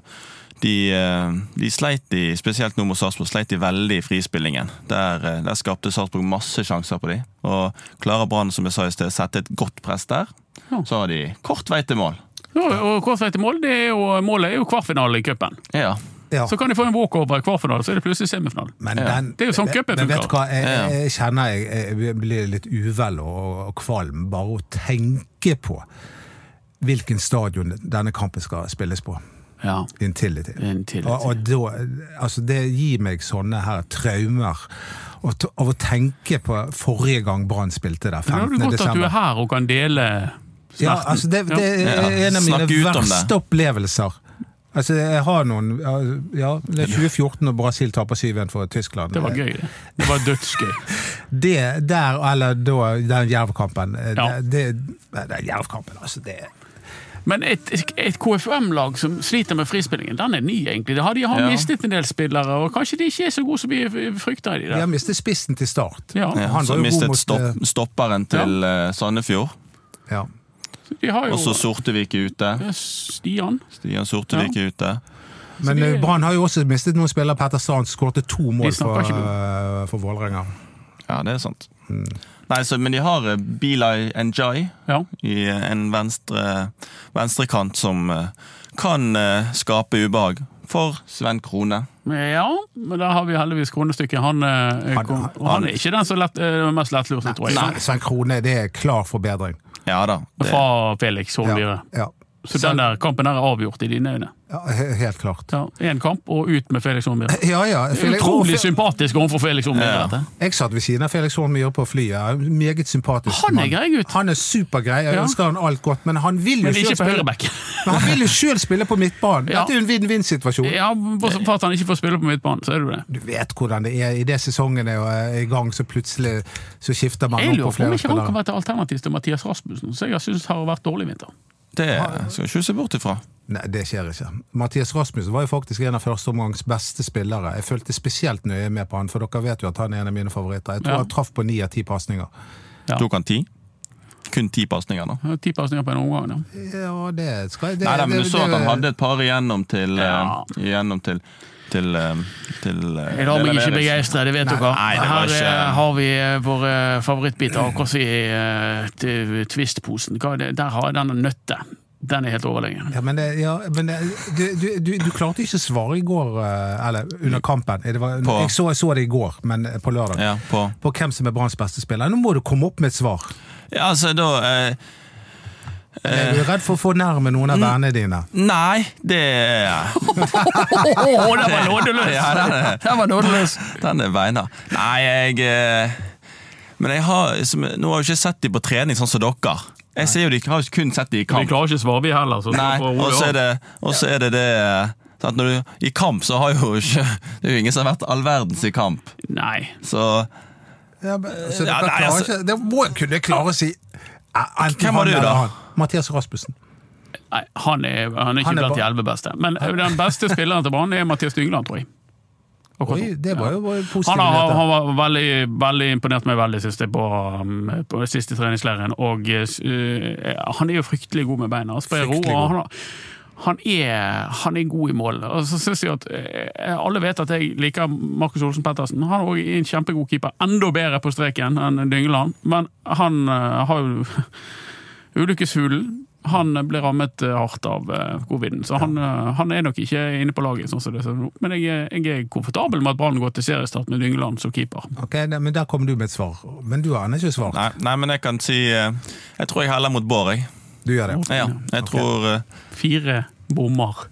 Speaker 3: de, eh, de sleit i, spesielt nå mot Sarpsborg, sleit de veldig i frispillingen. Der, eh, der skapte Sarpsborg masse sjanser på de. Og klarer Brann, som jeg sa i sted, sette et godt press der,
Speaker 2: Ja.
Speaker 3: så har de kort vei til mål.
Speaker 2: Ja, og kort vei til mål, det er jo, målet er jo kvartfinale i cupen.
Speaker 3: Ja.
Speaker 4: Ja.
Speaker 2: Så kan de få en walkover i kvartfinale, så er det plutselig semifinale.
Speaker 4: Men
Speaker 3: Ja.
Speaker 4: den,
Speaker 2: Det er jo sånn
Speaker 4: men-
Speaker 2: cupen
Speaker 4: men vet du
Speaker 2: funker.
Speaker 4: hva, jeg,
Speaker 3: Ja.
Speaker 4: jeg kjenner jeg, jeg blir litt uvel og, og kvalm bare å tenke på hvilken stadion denne kampen skal spilles på.
Speaker 2: Ja,
Speaker 4: Intility.
Speaker 2: Intility.
Speaker 4: Og, og da, altså det gir meg sånne her traumer og t- av å tenke på forrige gang Brann spilte der,
Speaker 2: Men da er
Speaker 4: 15.
Speaker 2: det godt at du er
Speaker 4: desember.
Speaker 2: her og kan dele smerten.
Speaker 4: Ja, altså det, det er
Speaker 3: Ja.
Speaker 4: en av mine
Speaker 3: Snakk ut om det.
Speaker 4: verste opplevelser. Altså, jeg har noen Ja, det er 2014 når Brasil taper 7-1 for Tyskland.
Speaker 2: Det var gøy, det. Det var dødsgøy.
Speaker 4: Det der, eller da, den jervkampen eh,
Speaker 2: Ja.
Speaker 4: det, det, nei, den jervkampen, altså det
Speaker 2: Men et, et KFUM-lag som sliter med frispillingen, den er ny, egentlig. Det har, de har
Speaker 3: Ja.
Speaker 2: mistet en del spillere, og kanskje de ikke er så gode som vi frykter i
Speaker 4: De
Speaker 2: det.
Speaker 4: har mistet spissen til start.
Speaker 2: Ja,
Speaker 3: ja.
Speaker 4: Han
Speaker 3: Så
Speaker 4: var jo god
Speaker 3: mistet
Speaker 4: mot, eh,
Speaker 3: stopp, stopperen til eh, Sandefjord.
Speaker 4: Ja.
Speaker 2: de har jo
Speaker 3: Og så Sortevik er ute.
Speaker 2: Stian.
Speaker 3: Stian Sortevik er ute.
Speaker 4: Men
Speaker 2: de-
Speaker 4: eh, Brann har jo også mistet noen spillere. Petter Strand skårte to mål for,
Speaker 2: snakker ikke
Speaker 4: eh, for Vålerenga.
Speaker 3: Ja, det er sant.
Speaker 4: Mm.
Speaker 3: Nei, så, men de har eh, Bilai Njay
Speaker 2: Ja.
Speaker 3: i eh, en venstre venstrekant som eh, kan eh, skape ubehag for Sven Krone.
Speaker 2: ja, men der har vi heldigvis kronestykket. Han, eh,
Speaker 4: Han-
Speaker 2: kom,
Speaker 4: han-
Speaker 2: og han er ikke den som lett, eh, mest lettlurte, tror jeg.
Speaker 4: Sven- Sven Krone, det er klar forbedring.
Speaker 3: Ja da. Det,
Speaker 2: Fra Felix Holmbyre.
Speaker 4: ja.
Speaker 2: Så den der kampen der er avgjort i dine øyne.
Speaker 4: Ja, Ja, he- helt klart.
Speaker 2: Ja, Én kamp, og ut med Felix Hornbjerg.
Speaker 4: Ja, ja. Felix-
Speaker 2: Utrolig
Speaker 4: Å, Fe-
Speaker 2: sympatisk overfor Felix
Speaker 3: Ja.
Speaker 2: Hornbjerg. dette.
Speaker 4: Jeg satt ved siden av Felix Hornmyhre på flyet. Meget sympatisk.
Speaker 2: Han er
Speaker 4: mann.
Speaker 2: grei gutt.
Speaker 4: Han er supergrei. Jeg
Speaker 2: Ja.
Speaker 4: ønsker han alt godt, men han vil jo
Speaker 2: Men ikke
Speaker 4: selv
Speaker 2: på
Speaker 4: spille-
Speaker 2: høyreback.
Speaker 4: Men han vil jo selv spille på midtbanen.
Speaker 2: Ja.
Speaker 4: Dette er jo en vinn-vinn-situasjon.
Speaker 2: Ja, bortsett fra at han ikke får spille på midtbanen, så er det jo det.
Speaker 4: Du vet hvordan det er i det sesongen er jo, eh, i gang, så plutselig så skifter man
Speaker 2: Jeg
Speaker 4: opp på
Speaker 2: lurer på om
Speaker 4: flere
Speaker 2: ikke han kan
Speaker 4: spillere.
Speaker 2: være et alternativ til Mathias Rasmussen, som jeg syns har vært dårlig i vinter.
Speaker 3: Det skal ikke du se bort ifra.
Speaker 4: Nei, det skjer ikke. Mathias Rasmussen var jo faktisk en av første omgangs beste spillere. Jeg fulgte spesielt nøye med på han, for dere vet jo at han er en av mine favoritter. Jeg tror
Speaker 2: Ja.
Speaker 4: han traff på ni av ti pasninger.
Speaker 2: Ja.
Speaker 3: Tok han ti? Kun ti pasninger, da.
Speaker 2: Han har Ti pasninger på en omgang. ja.
Speaker 4: Ja, det skal jeg det-
Speaker 3: Nei, nei, men
Speaker 4: det-
Speaker 3: du så
Speaker 4: det-
Speaker 3: at han hadde et par igjennom til
Speaker 2: Ja.
Speaker 3: eh, Igjennom til til, eh, til eh,
Speaker 2: Jeg lar meg
Speaker 3: Lena
Speaker 2: ikke
Speaker 3: Eriksen.
Speaker 2: begeistre, det vet dere.
Speaker 3: nei, det var
Speaker 2: Her eh,
Speaker 3: ikke-
Speaker 2: har vi eh, våre favorittbiter. Akkurat i eh, til Twist-posen. Hva er det? Der har jeg den nøtte. Den er helt overlegen.
Speaker 4: Ja, men, det, ja, men det, du, du, du, du klarte ikke å svare i går, eh, eller under kampen. Det var,
Speaker 3: På-
Speaker 4: jeg, så, jeg så det i går, men eh, på lørdag.
Speaker 3: Ja, på
Speaker 4: På hvem som er Branns beste spiller. Nå må du komme opp med et svar.
Speaker 3: Ja, altså, da eh,
Speaker 4: Er du redd for å fornærme noen
Speaker 3: Mm.
Speaker 4: av vennene dine?
Speaker 3: Nei, det
Speaker 2: Åh, den var nådeløs!
Speaker 3: Ja, den er-
Speaker 2: Den var nådeløs.
Speaker 3: Den er beina. Nei, jeg eh, Men jeg har som, Nå har jeg jo ikke sett de på trening, sånn som dere. Jeg ser jo de, jeg har jo kun sett de i
Speaker 2: Vi
Speaker 3: kamp.
Speaker 2: klarer ikke svare, vi heller. Så
Speaker 3: Nei, og så er det og så er det, det eh, sant, når du, I kamp så har jo ikke Det er jo ingen som har vært all verdens i kamp.
Speaker 2: Nei.
Speaker 3: Så
Speaker 4: Ja, men, så
Speaker 3: Ja,
Speaker 4: dere
Speaker 3: nei,
Speaker 4: klarer
Speaker 3: altså-
Speaker 4: ikke, det må jeg kunne klare å si. Eh, Enten
Speaker 3: Hvem var
Speaker 4: han
Speaker 3: du
Speaker 4: eller
Speaker 3: da?
Speaker 4: han. Mathias Rasmussen.
Speaker 2: Nei, han er, han er ikke
Speaker 4: Han er
Speaker 2: blant de
Speaker 4: bra.
Speaker 2: elleve beste. Men eh, den beste spilleren til Brann er Mathias Dyngland, tror jeg. Akkurat
Speaker 4: Oi,
Speaker 2: nå.
Speaker 4: det var jo positivt.
Speaker 2: Han, har, han var veldig, veldig imponert meg veldig siste på, um, på siste treningsleiren. Og uh, han er jo fryktelig god med beina. Han sprer ro.
Speaker 4: Fryktelig
Speaker 2: og
Speaker 4: god.
Speaker 2: Han, har- han, er, han er god i mål. Og så synes jeg at eh, Alle vet at jeg liker Markus Olsen Pettersen. Han er også en kjempegod keeper. Enda bedre på streken enn Dyngeland. Men han eh, har jo ulykkeshulen. Han ble rammet eh, hardt av eh, coviden, så han, eh, han er nok ikke inne på laget. sånn som det ser ut nå. Men jeg, er- jeg er komfortabel med at Brann går til seriestart med Dyngeland som keeper.
Speaker 4: Ok, ne, men Der kom du med et svar. Men du har ennå ikke svart.
Speaker 3: nei, nei, men jeg kan si eh, Jeg tror jeg heller mot Bård, jeg.
Speaker 4: Du gjør det.
Speaker 3: Ja, jeg tror eh,
Speaker 2: Fire bommer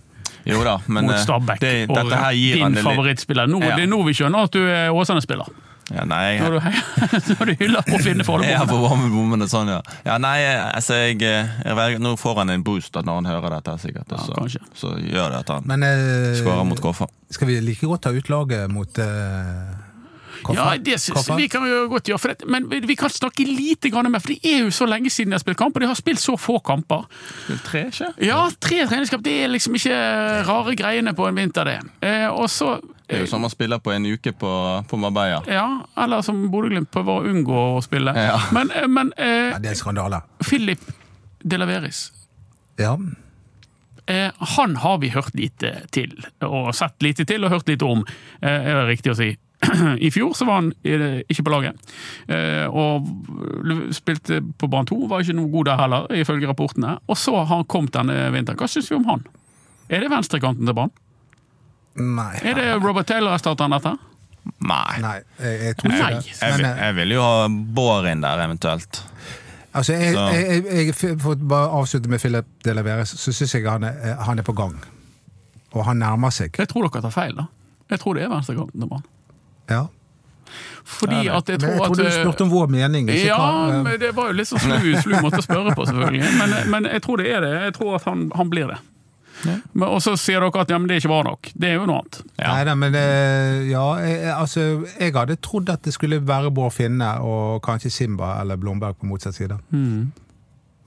Speaker 3: Jo da, men
Speaker 2: mot
Speaker 3: eh,
Speaker 2: Stabæk.
Speaker 3: det, dette her
Speaker 2: og
Speaker 3: gir
Speaker 2: din
Speaker 3: han det litt
Speaker 2: favorittspiller. Nå,
Speaker 3: Ja.
Speaker 2: Det er nå vi skjønner at du er Åsane-spiller.
Speaker 3: ja, Nei, jeg,
Speaker 2: Når, du- når du hyller på Finne for
Speaker 3: Ja,
Speaker 2: Holmboe.
Speaker 3: på varmebommene, sånn, ja. ja nei, altså, jeg, jeg velger, Nå får han en boost da, når han hører dette, sikkert. og
Speaker 2: Ja,
Speaker 3: så,
Speaker 2: kanskje.
Speaker 3: så gjør det at han
Speaker 4: Men eh,
Speaker 3: skårer mot Koffa.
Speaker 4: skal vi like godt ta ut laget mot eh,
Speaker 2: Ja,
Speaker 4: Koffa?
Speaker 2: det synes
Speaker 4: Koffa?
Speaker 2: vi kan vi jo godt gjøre, for det, men vi vi kan snakke lite grann mer, for det er jo så lenge siden de har spilt kamp, og de har spilt så få kamper.
Speaker 3: Tre, ikke?
Speaker 2: Ja, tre treningskamp, det er liksom ikke rare greiene på en vinter, det. Eh, og så
Speaker 3: Det er jo som han spiller på en uke på, på Marbella.
Speaker 2: ja, eller som Bodø-Glimt prøver å unngå å spille.
Speaker 3: Ja.
Speaker 2: Men, eh, men eh,
Speaker 4: Ja, det er en skandale.
Speaker 2: Philip Delaveris,
Speaker 4: Ja.
Speaker 2: eh, han har vi hørt lite til, og sett lite til og hørt lite om, eh, er det riktig å si. I fjor så var han eh, ikke på laget, eh, og spilte på Brann 2, var ikke noe god der heller, ifølge rapportene. Og så har han kommet denne vinteren. Hva syns vi om han? Er det venstrekanten til Brann?
Speaker 4: Nei.
Speaker 2: Er det Robert Taylor erstatteren dette?
Speaker 3: Nei.
Speaker 4: Nei, jeg, jeg tror ikke
Speaker 2: Nei.
Speaker 3: Jeg,
Speaker 4: det.
Speaker 3: vil-
Speaker 4: Men, eh,
Speaker 3: jeg vil jo ha Bård inn der, eventuelt.
Speaker 4: altså, jeg,
Speaker 3: Så-
Speaker 4: jeg, jeg, jeg for å bare avslutte med Philip Delaveres, så syns jeg han er, eh, han er på gang. Og han nærmer seg.
Speaker 2: Jeg tror dere tar feil, da. Jeg tror det er venstrekanten til Brann.
Speaker 4: Ja.
Speaker 2: Fordi at jeg
Speaker 4: Men jeg
Speaker 2: tror at eh,
Speaker 4: trodde du spurte om vår mening. Ikke
Speaker 2: Ja,
Speaker 4: hva, eh,
Speaker 2: men det var jo litt sånn slu, slu måte å spørre på, selvfølgelig. Men, men jeg tror det er det. Jeg tror at han, han blir det. Men, og så sier dere at ja, men det er ikke bra nok. Det er jo noe annet.
Speaker 3: Ja.
Speaker 4: Nei da, men eh, ja, jeg, jeg- altså, jeg hadde trodd at det skulle være Bård Finne og kanskje Simba eller Blomberg på motsatt side.
Speaker 2: Men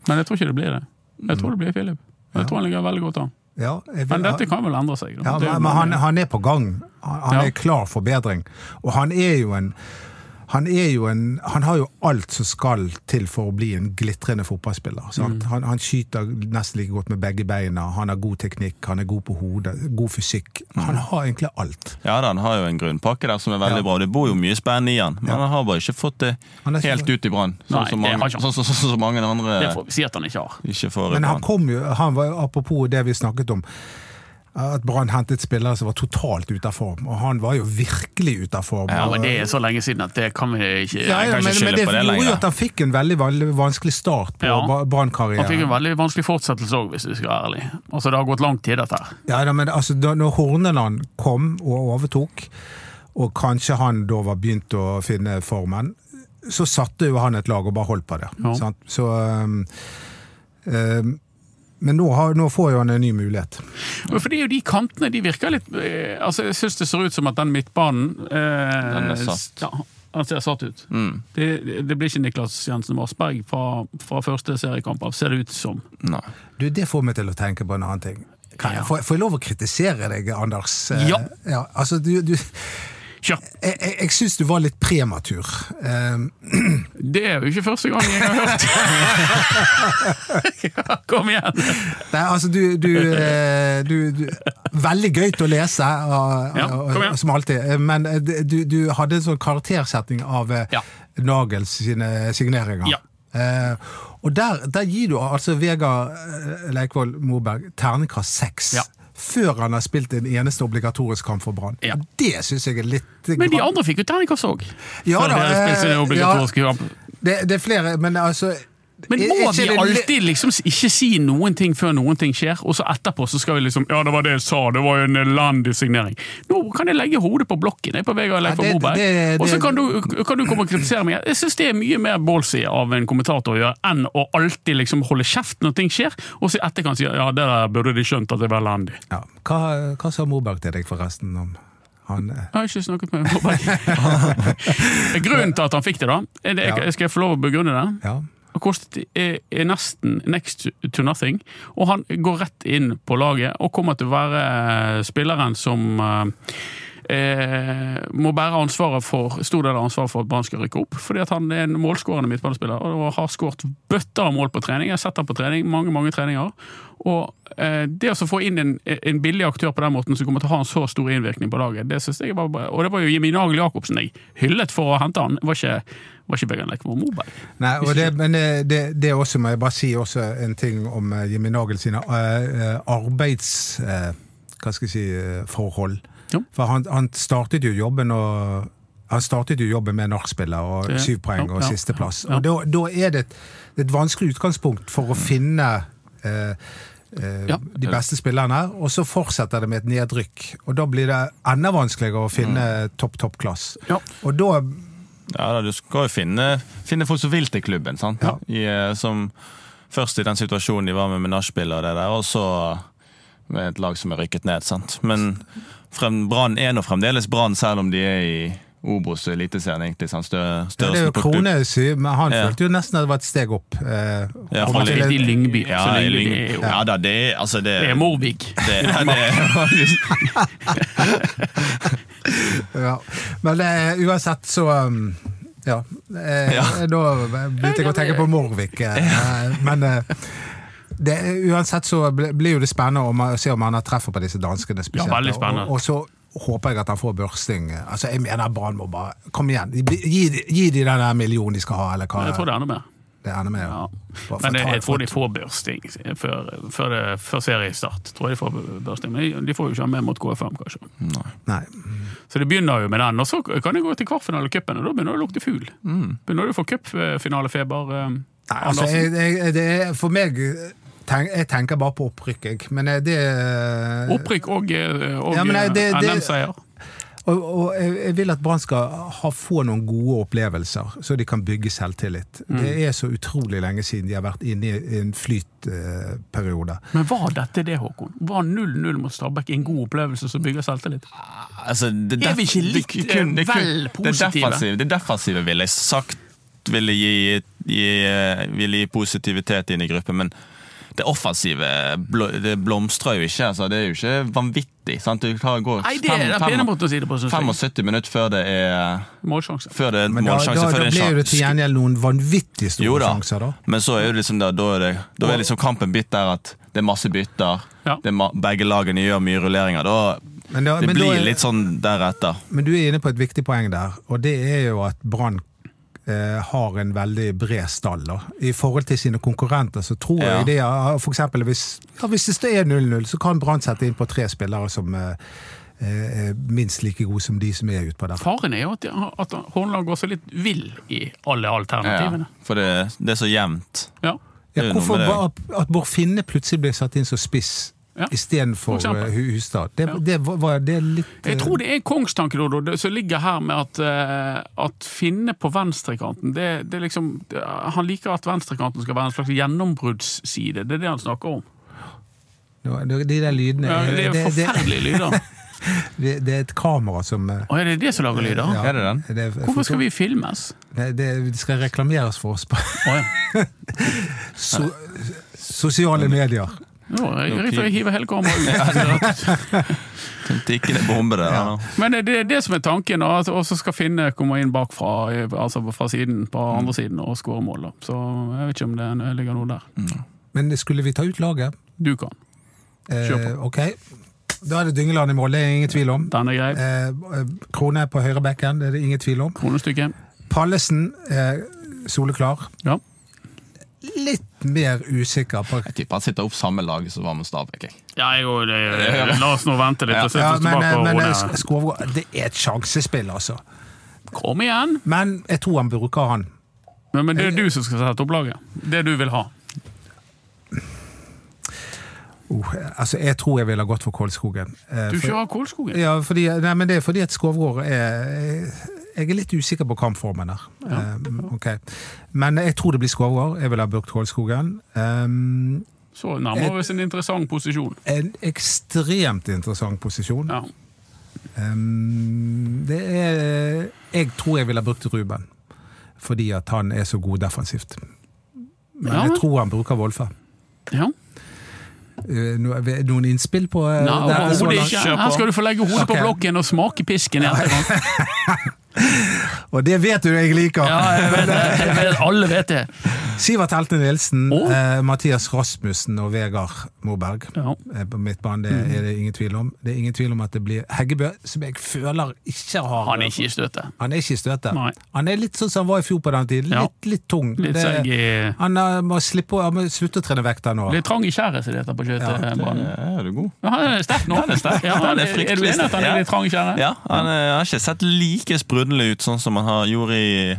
Speaker 2: jeg tror ikke det blir det. Jeg tror det blir Philip. Jeg tror han ligger veldig godt an.
Speaker 4: Ja, jeg,
Speaker 2: Men dette kan vel endre seg. da.
Speaker 4: ja,
Speaker 2: Det er jo
Speaker 4: men, men han,
Speaker 2: mange-
Speaker 4: han er på gang. Han, han
Speaker 2: Ja.
Speaker 4: er klar for bedring. Og han er jo en han, er jo en, han har jo alt som skal til for å bli en glitrende fotballspiller. Sant?
Speaker 2: Mm.
Speaker 4: Han, han skyter nesten like godt med begge beina, han har god teknikk, han er god på hodet, god fysikk.
Speaker 2: Mm.
Speaker 4: Han har egentlig alt.
Speaker 3: Ja da, han har jo en grunnpakke der som er veldig
Speaker 4: Ja.
Speaker 3: bra. Det bor jo mye spennende i han, men han har bare ikke fått det
Speaker 4: Han er ikke-
Speaker 3: helt ut i Brann.
Speaker 2: Nei,
Speaker 3: Sånn som
Speaker 2: det har
Speaker 3: mange,
Speaker 2: ikke han.
Speaker 3: sånn, som- sånn, som mange andre
Speaker 2: det får vi si at han ikke har.
Speaker 3: ikke får i
Speaker 4: Men han
Speaker 3: Brann.
Speaker 4: kom jo, han var, apropos det vi snakket om at Brann hentet spillere som var totalt ute av form, og han var jo virkelig ute av form.
Speaker 2: Ja,
Speaker 4: og-
Speaker 2: men det er så lenge siden at det kan vi ikke
Speaker 4: Ja, ja,
Speaker 3: kan ikke
Speaker 4: men, men
Speaker 3: skylde
Speaker 4: det
Speaker 3: på det
Speaker 4: gjorde jo
Speaker 3: lenger.
Speaker 4: at han fikk en veldig, veldig vanskelig start på
Speaker 2: Ja.
Speaker 4: Ba-
Speaker 2: Han fikk en
Speaker 4: Brann-karrieren.
Speaker 2: veldig vanskelig fortsettelse òg, hvis du skal være ærlig. Altså, Det har gått lang tid, dette her.
Speaker 4: Ja, da, men altså, da når Horneland kom og overtok, og kanskje han da var begynt å finne formen, så satte jo han et lag og bare holdt på det.
Speaker 2: Ja.
Speaker 4: Sant? Så, øhm, øhm, men nå, har, nå får jo han en ny mulighet.
Speaker 2: Men For det er jo de kantene, de virker litt eh, Altså, Jeg syns det ser ut som at den midtbanen eh,
Speaker 3: Den er satt.
Speaker 2: Ja, den ser satt ut.
Speaker 3: Mm.
Speaker 2: Det, det blir ikke Niklas Jensen Vassberg fra, fra første seriekamp av, ser det ut som.
Speaker 3: Nei.
Speaker 4: Du, det får meg til å tenke på en annen ting. Kan jeg,
Speaker 2: Ja.
Speaker 4: får, får jeg lov å kritisere deg, Anders? Eh,
Speaker 2: Ja.
Speaker 4: ja altså, du, du, jeg
Speaker 2: Kjør!
Speaker 4: jeg, jeg syns du var litt prematur. Ehm,
Speaker 2: Det er jo ikke første gang jeg har hørt Ja, Kom igjen!
Speaker 4: Nei, altså du, du, eh, du, du Veldig gøy til å lese, og,
Speaker 2: Ja,
Speaker 4: og-
Speaker 2: kom igjen.
Speaker 4: som alltid. eh, Men eh, du, du hadde en sånn karaktersetning av eh,
Speaker 2: Ja.
Speaker 4: Nagels sine signeringer.
Speaker 2: Ja.
Speaker 4: Eh, og der, der gir du altså Vegard eh, Leikvoll Moberg terningkast seks.
Speaker 2: Ja.
Speaker 4: Før han har spilt en eneste obligatorisk kamp for Brann.
Speaker 2: Ja.
Speaker 4: Det syns jeg er litt
Speaker 2: Men de andre fikk jo terningkast òg.
Speaker 4: Ja
Speaker 2: Før
Speaker 4: da,
Speaker 2: dere spilte sin
Speaker 4: eh,
Speaker 2: obligatoriske kamp.
Speaker 4: det, det er flere, men altså
Speaker 2: Men
Speaker 4: er-
Speaker 2: må
Speaker 4: er ikke
Speaker 2: vi
Speaker 4: det litt-
Speaker 2: alltid liksom ikke si noen ting før noen ting skjer, og så etterpå så skal vi liksom Ja, det var det jeg sa, det var jo en elendig signering. Nå kan jeg legge hodet på blokken, jeg er på vei av Leif
Speaker 4: Ja, det-
Speaker 2: Moberg,
Speaker 4: det-
Speaker 2: og så
Speaker 4: det-
Speaker 2: kan du, kan du komme og kritisere meg. Jeg syns det er mye mer ballsy av en kommentator å gjøre enn å alltid liksom holde kjeft når ting skjer, og så i etterkant si ja, det der eh, burde de skjønt at det var elendig.
Speaker 4: ja. hva, hva sa Moberg til deg, forresten, om han eh,
Speaker 2: Jeg har ikke snakket med Moberg. Grunnen til at han fikk det, da, er det,
Speaker 4: Ja.
Speaker 2: jeg, skal jeg få lov å begrunne det?
Speaker 4: Ja.
Speaker 2: Og kostet er, er nesten next to nothing. Og han går rett inn på laget og kommer til å være eh, spilleren som eh, eh, må bære ansvaret for stor del av ansvaret for at Brann skal rykke opp. Fordi at han er en målskårende midtbanespiller og har skåret bøtter av mål på trening. Jeg har sett ham på trening, mange mange treninger. Og eh, det å så få inn en, en billig aktør på den måten som kommer til å ha en så stor innvirkning på laget, det synes jeg var bra. Og det var jo Jimmy Nagel Jacobsen jeg hyllet for å hente han. Det var ikke, var ikke Began Lekvold Moberg.
Speaker 4: Nei, og det, men eh, det, det også må jeg bare si også en ting om eh, Jimmy Nagel sine eh, eh, arbeids... eh, Hva skal jeg si eh, forhold.
Speaker 2: Jo.
Speaker 4: For han, han startet jo jobben og han startet jo jobben med nachspieler og
Speaker 2: Det-
Speaker 4: syv poeng
Speaker 2: ja,
Speaker 4: og
Speaker 2: ja,
Speaker 4: sisteplass.
Speaker 2: ja. Mm.
Speaker 4: Og da, da er det et, et vanskelig utgangspunkt for å finne eh, eh,
Speaker 2: Ja.
Speaker 4: de beste spillerne, og så fortsetter det med et nedrykk. Og da blir det enda vanskeligere å finne topp, topp klass.
Speaker 2: Mm. Ja.
Speaker 4: Og da
Speaker 3: Ja, da, Du skal jo finne, finne folk som vil til klubben. sant? I, eh, som Først i den situasjonen de var med med nachspiel og det der, og så med et lag som er rykket ned. sant? Men frem, Brann er nå fremdeles Brann, selv om de er i Obos og Eliteserien. egentlig, sant? Stør,
Speaker 4: Ja, det er jo
Speaker 3: største portu-
Speaker 4: Kronesy, men han
Speaker 3: Ja.
Speaker 4: følte jo nesten at det var et steg opp. eh,
Speaker 3: Ja,
Speaker 4: om
Speaker 3: fra
Speaker 4: til
Speaker 2: Litt i
Speaker 4: en-
Speaker 2: Lyngby. så
Speaker 3: Ja, i
Speaker 2: Lyngby,
Speaker 3: Lyng-
Speaker 2: Det, er jo,
Speaker 3: ja da, det er altså det,
Speaker 2: det er Morvik.
Speaker 3: det, ja, det er,
Speaker 4: ja. Men eh, uansett så um, ja. eh,
Speaker 3: Ja.
Speaker 4: Da begynte jeg å tenke på Morvik. eh, eh, Men eh, det, uansett så ble- blir jo det spennende om, å se om han har treffer på disse danskene spesielt.
Speaker 2: veldig spennende.
Speaker 4: Og, og så håper jeg at han får børsting. Altså, jeg mener Brann må bare Kom igjen, gi, gi de den der millionen de skal ha, eller hva
Speaker 2: Jeg tror det er enda mer.
Speaker 4: det ender med.
Speaker 2: Ja. Men
Speaker 4: Bare for å
Speaker 2: jeg,
Speaker 4: ta-
Speaker 2: jeg tror de får børsting før, før, det, før seriestart. Tror jeg de får børsting, Men de får jo ikke ha med mot KFM, kanskje.
Speaker 4: Nei.
Speaker 2: Så det begynner jo med den. Og så kan det gå til kvartfinalecupen, og da begynner det å lukte fugl.
Speaker 3: Mm.
Speaker 2: Begynner du å få cupfinalefeber. eh,
Speaker 4: Nei, altså, jeg,
Speaker 2: Andersen?
Speaker 4: jeg, det er for meg tenk, Jeg tenker bare på opprykk, jeg. Men eh, det
Speaker 2: Opprykk og, eh, og
Speaker 4: Ja, men nei, det-
Speaker 2: eh,
Speaker 4: det-
Speaker 2: NM-seier.
Speaker 4: Og, og jeg jeg vil at Brann skal ha, få noen gode opplevelser, så de kan bygge selvtillit.
Speaker 3: Mm.
Speaker 4: Det er så utrolig lenge siden de har vært inne i en flytperiode.
Speaker 2: Men var dette det, Håkon? Var 0-0 mot Stabæk en god opplevelse som bygger selvtillit?
Speaker 3: altså, det
Speaker 2: Er vi
Speaker 3: def-
Speaker 2: ikke litt,
Speaker 3: det kun- det
Speaker 2: eh,
Speaker 3: kun-
Speaker 2: vel
Speaker 3: Det
Speaker 2: positive?
Speaker 3: defensive, det defensive ville jeg sagt ville gi, gi, eh, ville gi positivitet inn i gruppen, men det offensive blå- det blomstrer jo ikke. Altså, det er jo ikke vanvittig. Sant? Det tar- går
Speaker 2: Nei, det er den pene altså. måten å si det på, synes jeg.
Speaker 3: 75 minutter før det er,
Speaker 2: Målsjanse.
Speaker 3: før det er en
Speaker 4: Men da, da,
Speaker 3: målsjanse. før
Speaker 4: da
Speaker 3: det er en
Speaker 4: blir det
Speaker 3: sjanse.
Speaker 4: til gjengjeld noen vanvittig
Speaker 3: Jo
Speaker 4: store
Speaker 3: da,
Speaker 4: sjanser, da.
Speaker 3: men så er jo liksom da, da, er det, da er liksom kampen bitt der at det er masse bytter.
Speaker 2: Ja.
Speaker 3: Det er ma begge lagene gjør mye rulleringer. Da,
Speaker 4: Men da-
Speaker 3: det
Speaker 4: men da
Speaker 3: blir
Speaker 4: er-
Speaker 3: litt sånn deretter.
Speaker 4: Men du er inne på et viktig poeng der, og det er jo at Brann eh, har en veldig bred stall. Da. I forhold til sine konkurrenter så tror
Speaker 3: Ja.
Speaker 4: jeg det er for eksempel hvis, ja, hvis det står 0-0, så kan Brann sette inn på tre spillere som eh, eh, er minst like gode som de som er utpå der.
Speaker 2: Faren er jo at, at Horneland går så litt vill i alle
Speaker 3: Ja,
Speaker 2: alternativene.
Speaker 3: for det, det er så jevnt.
Speaker 2: Ja.
Speaker 3: Det er
Speaker 4: Ja,
Speaker 3: jo noe
Speaker 4: hvorfor
Speaker 3: med
Speaker 4: ba- at Bård Finne plutselig ble satt inn som spiss
Speaker 2: Ja, for
Speaker 4: istedenfor
Speaker 2: eksempel.
Speaker 4: eh, Hu- Hustad? Det,
Speaker 2: Ja.
Speaker 4: det, var, det er litt eh,
Speaker 2: Jeg tror det er en kongstanke Dodo, det- som ligger her med at, eh, at Finne på venstrekanten det, det er liksom, det- Han liker at venstrekanten skal være en slags gjennombruddsside. Det er det han snakker om.
Speaker 4: nå- De der lydene eh,
Speaker 2: Ja, det er
Speaker 4: det, det,
Speaker 2: forferdelige lyder.
Speaker 4: det, det er et kamera som eh,
Speaker 2: Og er det det som lager lyder?
Speaker 4: ja,
Speaker 3: Er det den?
Speaker 4: det er
Speaker 2: Hvorfor skal vi
Speaker 4: foto-
Speaker 2: filmes?
Speaker 4: Nei, det, det skal reklameres for oss på
Speaker 2: Å ja.
Speaker 4: so, sosiale medier.
Speaker 2: Nå, jeg, jeg, jeg hiver hele kameraet ut.
Speaker 3: En tikkende bombe der. nå.
Speaker 2: Men det det er det som er tanken, og at- og så skal Finne komme inn bakfra, eh, altså fra siden, på andre siden, og skåre mål. da. Så jeg vet ikke om det ligger noe der.
Speaker 4: Men skulle vi ta ut laget? Eh,
Speaker 2: Du kan. Kjør på.
Speaker 4: ok. Da er det Dyngeland i mål, det er ingen tvil om.
Speaker 2: Den er grei.
Speaker 4: Eh, Krone på høyrebekken, det er det ingen tvil om.
Speaker 2: Kronestykke.
Speaker 4: Pallesen, eh, soleklar.
Speaker 2: Ja.
Speaker 4: Litt mer usikker på
Speaker 5: Jeg tipper han sitter opp samme lag som var med Stabæk. jeg.
Speaker 2: Ja, jeg går, det, la oss nå vente litt og sette
Speaker 4: ja,
Speaker 2: oss
Speaker 4: men,
Speaker 2: tilbake.
Speaker 4: eh,
Speaker 2: og
Speaker 4: men eh,
Speaker 2: ordne-
Speaker 4: Sk- Skovgård, det er et sjansespill, altså.
Speaker 2: Kom igjen!
Speaker 4: Men jeg tror han bruker han.
Speaker 2: Men, men det er du som skal sette opp laget. Det du vil ha.
Speaker 4: Oh, eh, altså, jeg tror jeg ville ha gått for Kolskogen. Eh,
Speaker 2: Du
Speaker 4: for-
Speaker 2: kjører Kolskogen.
Speaker 4: Ja, fordi, nei, men det er fordi at Skovgård er Jeg er litt usikker på kampformen der. Eh, ok. Men jeg tror det blir Skovgård. Jeg vil ha Burkt Hålskogen. Um,
Speaker 2: Så nærmer vi oss en interessant posisjon.
Speaker 4: en ekstremt interessant posisjon.
Speaker 2: Ja.
Speaker 4: Um, det er Jeg tror jeg ville ha brukt Ruben, fordi at han er så god defensivt. Men
Speaker 2: Ja.
Speaker 4: jeg tror han bruker Wolfe.
Speaker 2: ja.
Speaker 4: Eh, no- noen innspill på eh,
Speaker 2: Nei,
Speaker 4: det her så
Speaker 2: overhodet
Speaker 4: langt?
Speaker 2: ikke.
Speaker 3: Kjør på.
Speaker 2: Her skal du få legge hodet på
Speaker 4: Ok.
Speaker 2: blokken og smake pisken etterpå.
Speaker 4: Og det vet du jeg liker!
Speaker 2: Ja, jeg vet det. Jeg vet, alle vet det.
Speaker 4: Sivert Helte Nilsen,
Speaker 2: Å.
Speaker 4: eh, Mathias Rasmussen og Vegard Moberg.
Speaker 2: Ja.
Speaker 4: Eh, På midtbanen det
Speaker 2: Mhm.
Speaker 4: er det ingen tvil om. Det er ingen tvil om at det blir Heggebø, som jeg føler ikke har
Speaker 2: Han er ikke i støtet.
Speaker 4: Han er ikke i støtet.
Speaker 2: Nei.
Speaker 4: Han er litt sånn som han var i fjor på den tiden.
Speaker 2: Ja.
Speaker 4: Litt, litt tung.
Speaker 2: Litt,
Speaker 4: Det-
Speaker 2: seig i-
Speaker 4: han eh, må, slippe, å- han må slutte å trene vekter nå.
Speaker 2: litt trang i skjæret, som det heter på skøytebanen.
Speaker 3: Ja, er du god?
Speaker 2: Ja, han er sterk nå.
Speaker 3: Han er sterk.
Speaker 2: Ja,
Speaker 3: Han
Speaker 2: er,
Speaker 3: er
Speaker 2: er du
Speaker 3: fryktelig
Speaker 2: enig at han er
Speaker 3: sterk.
Speaker 2: litt trang i skjæret?
Speaker 3: Ja, han eh, har ikke sett like sprudlende ut sånn som han har gjorde i,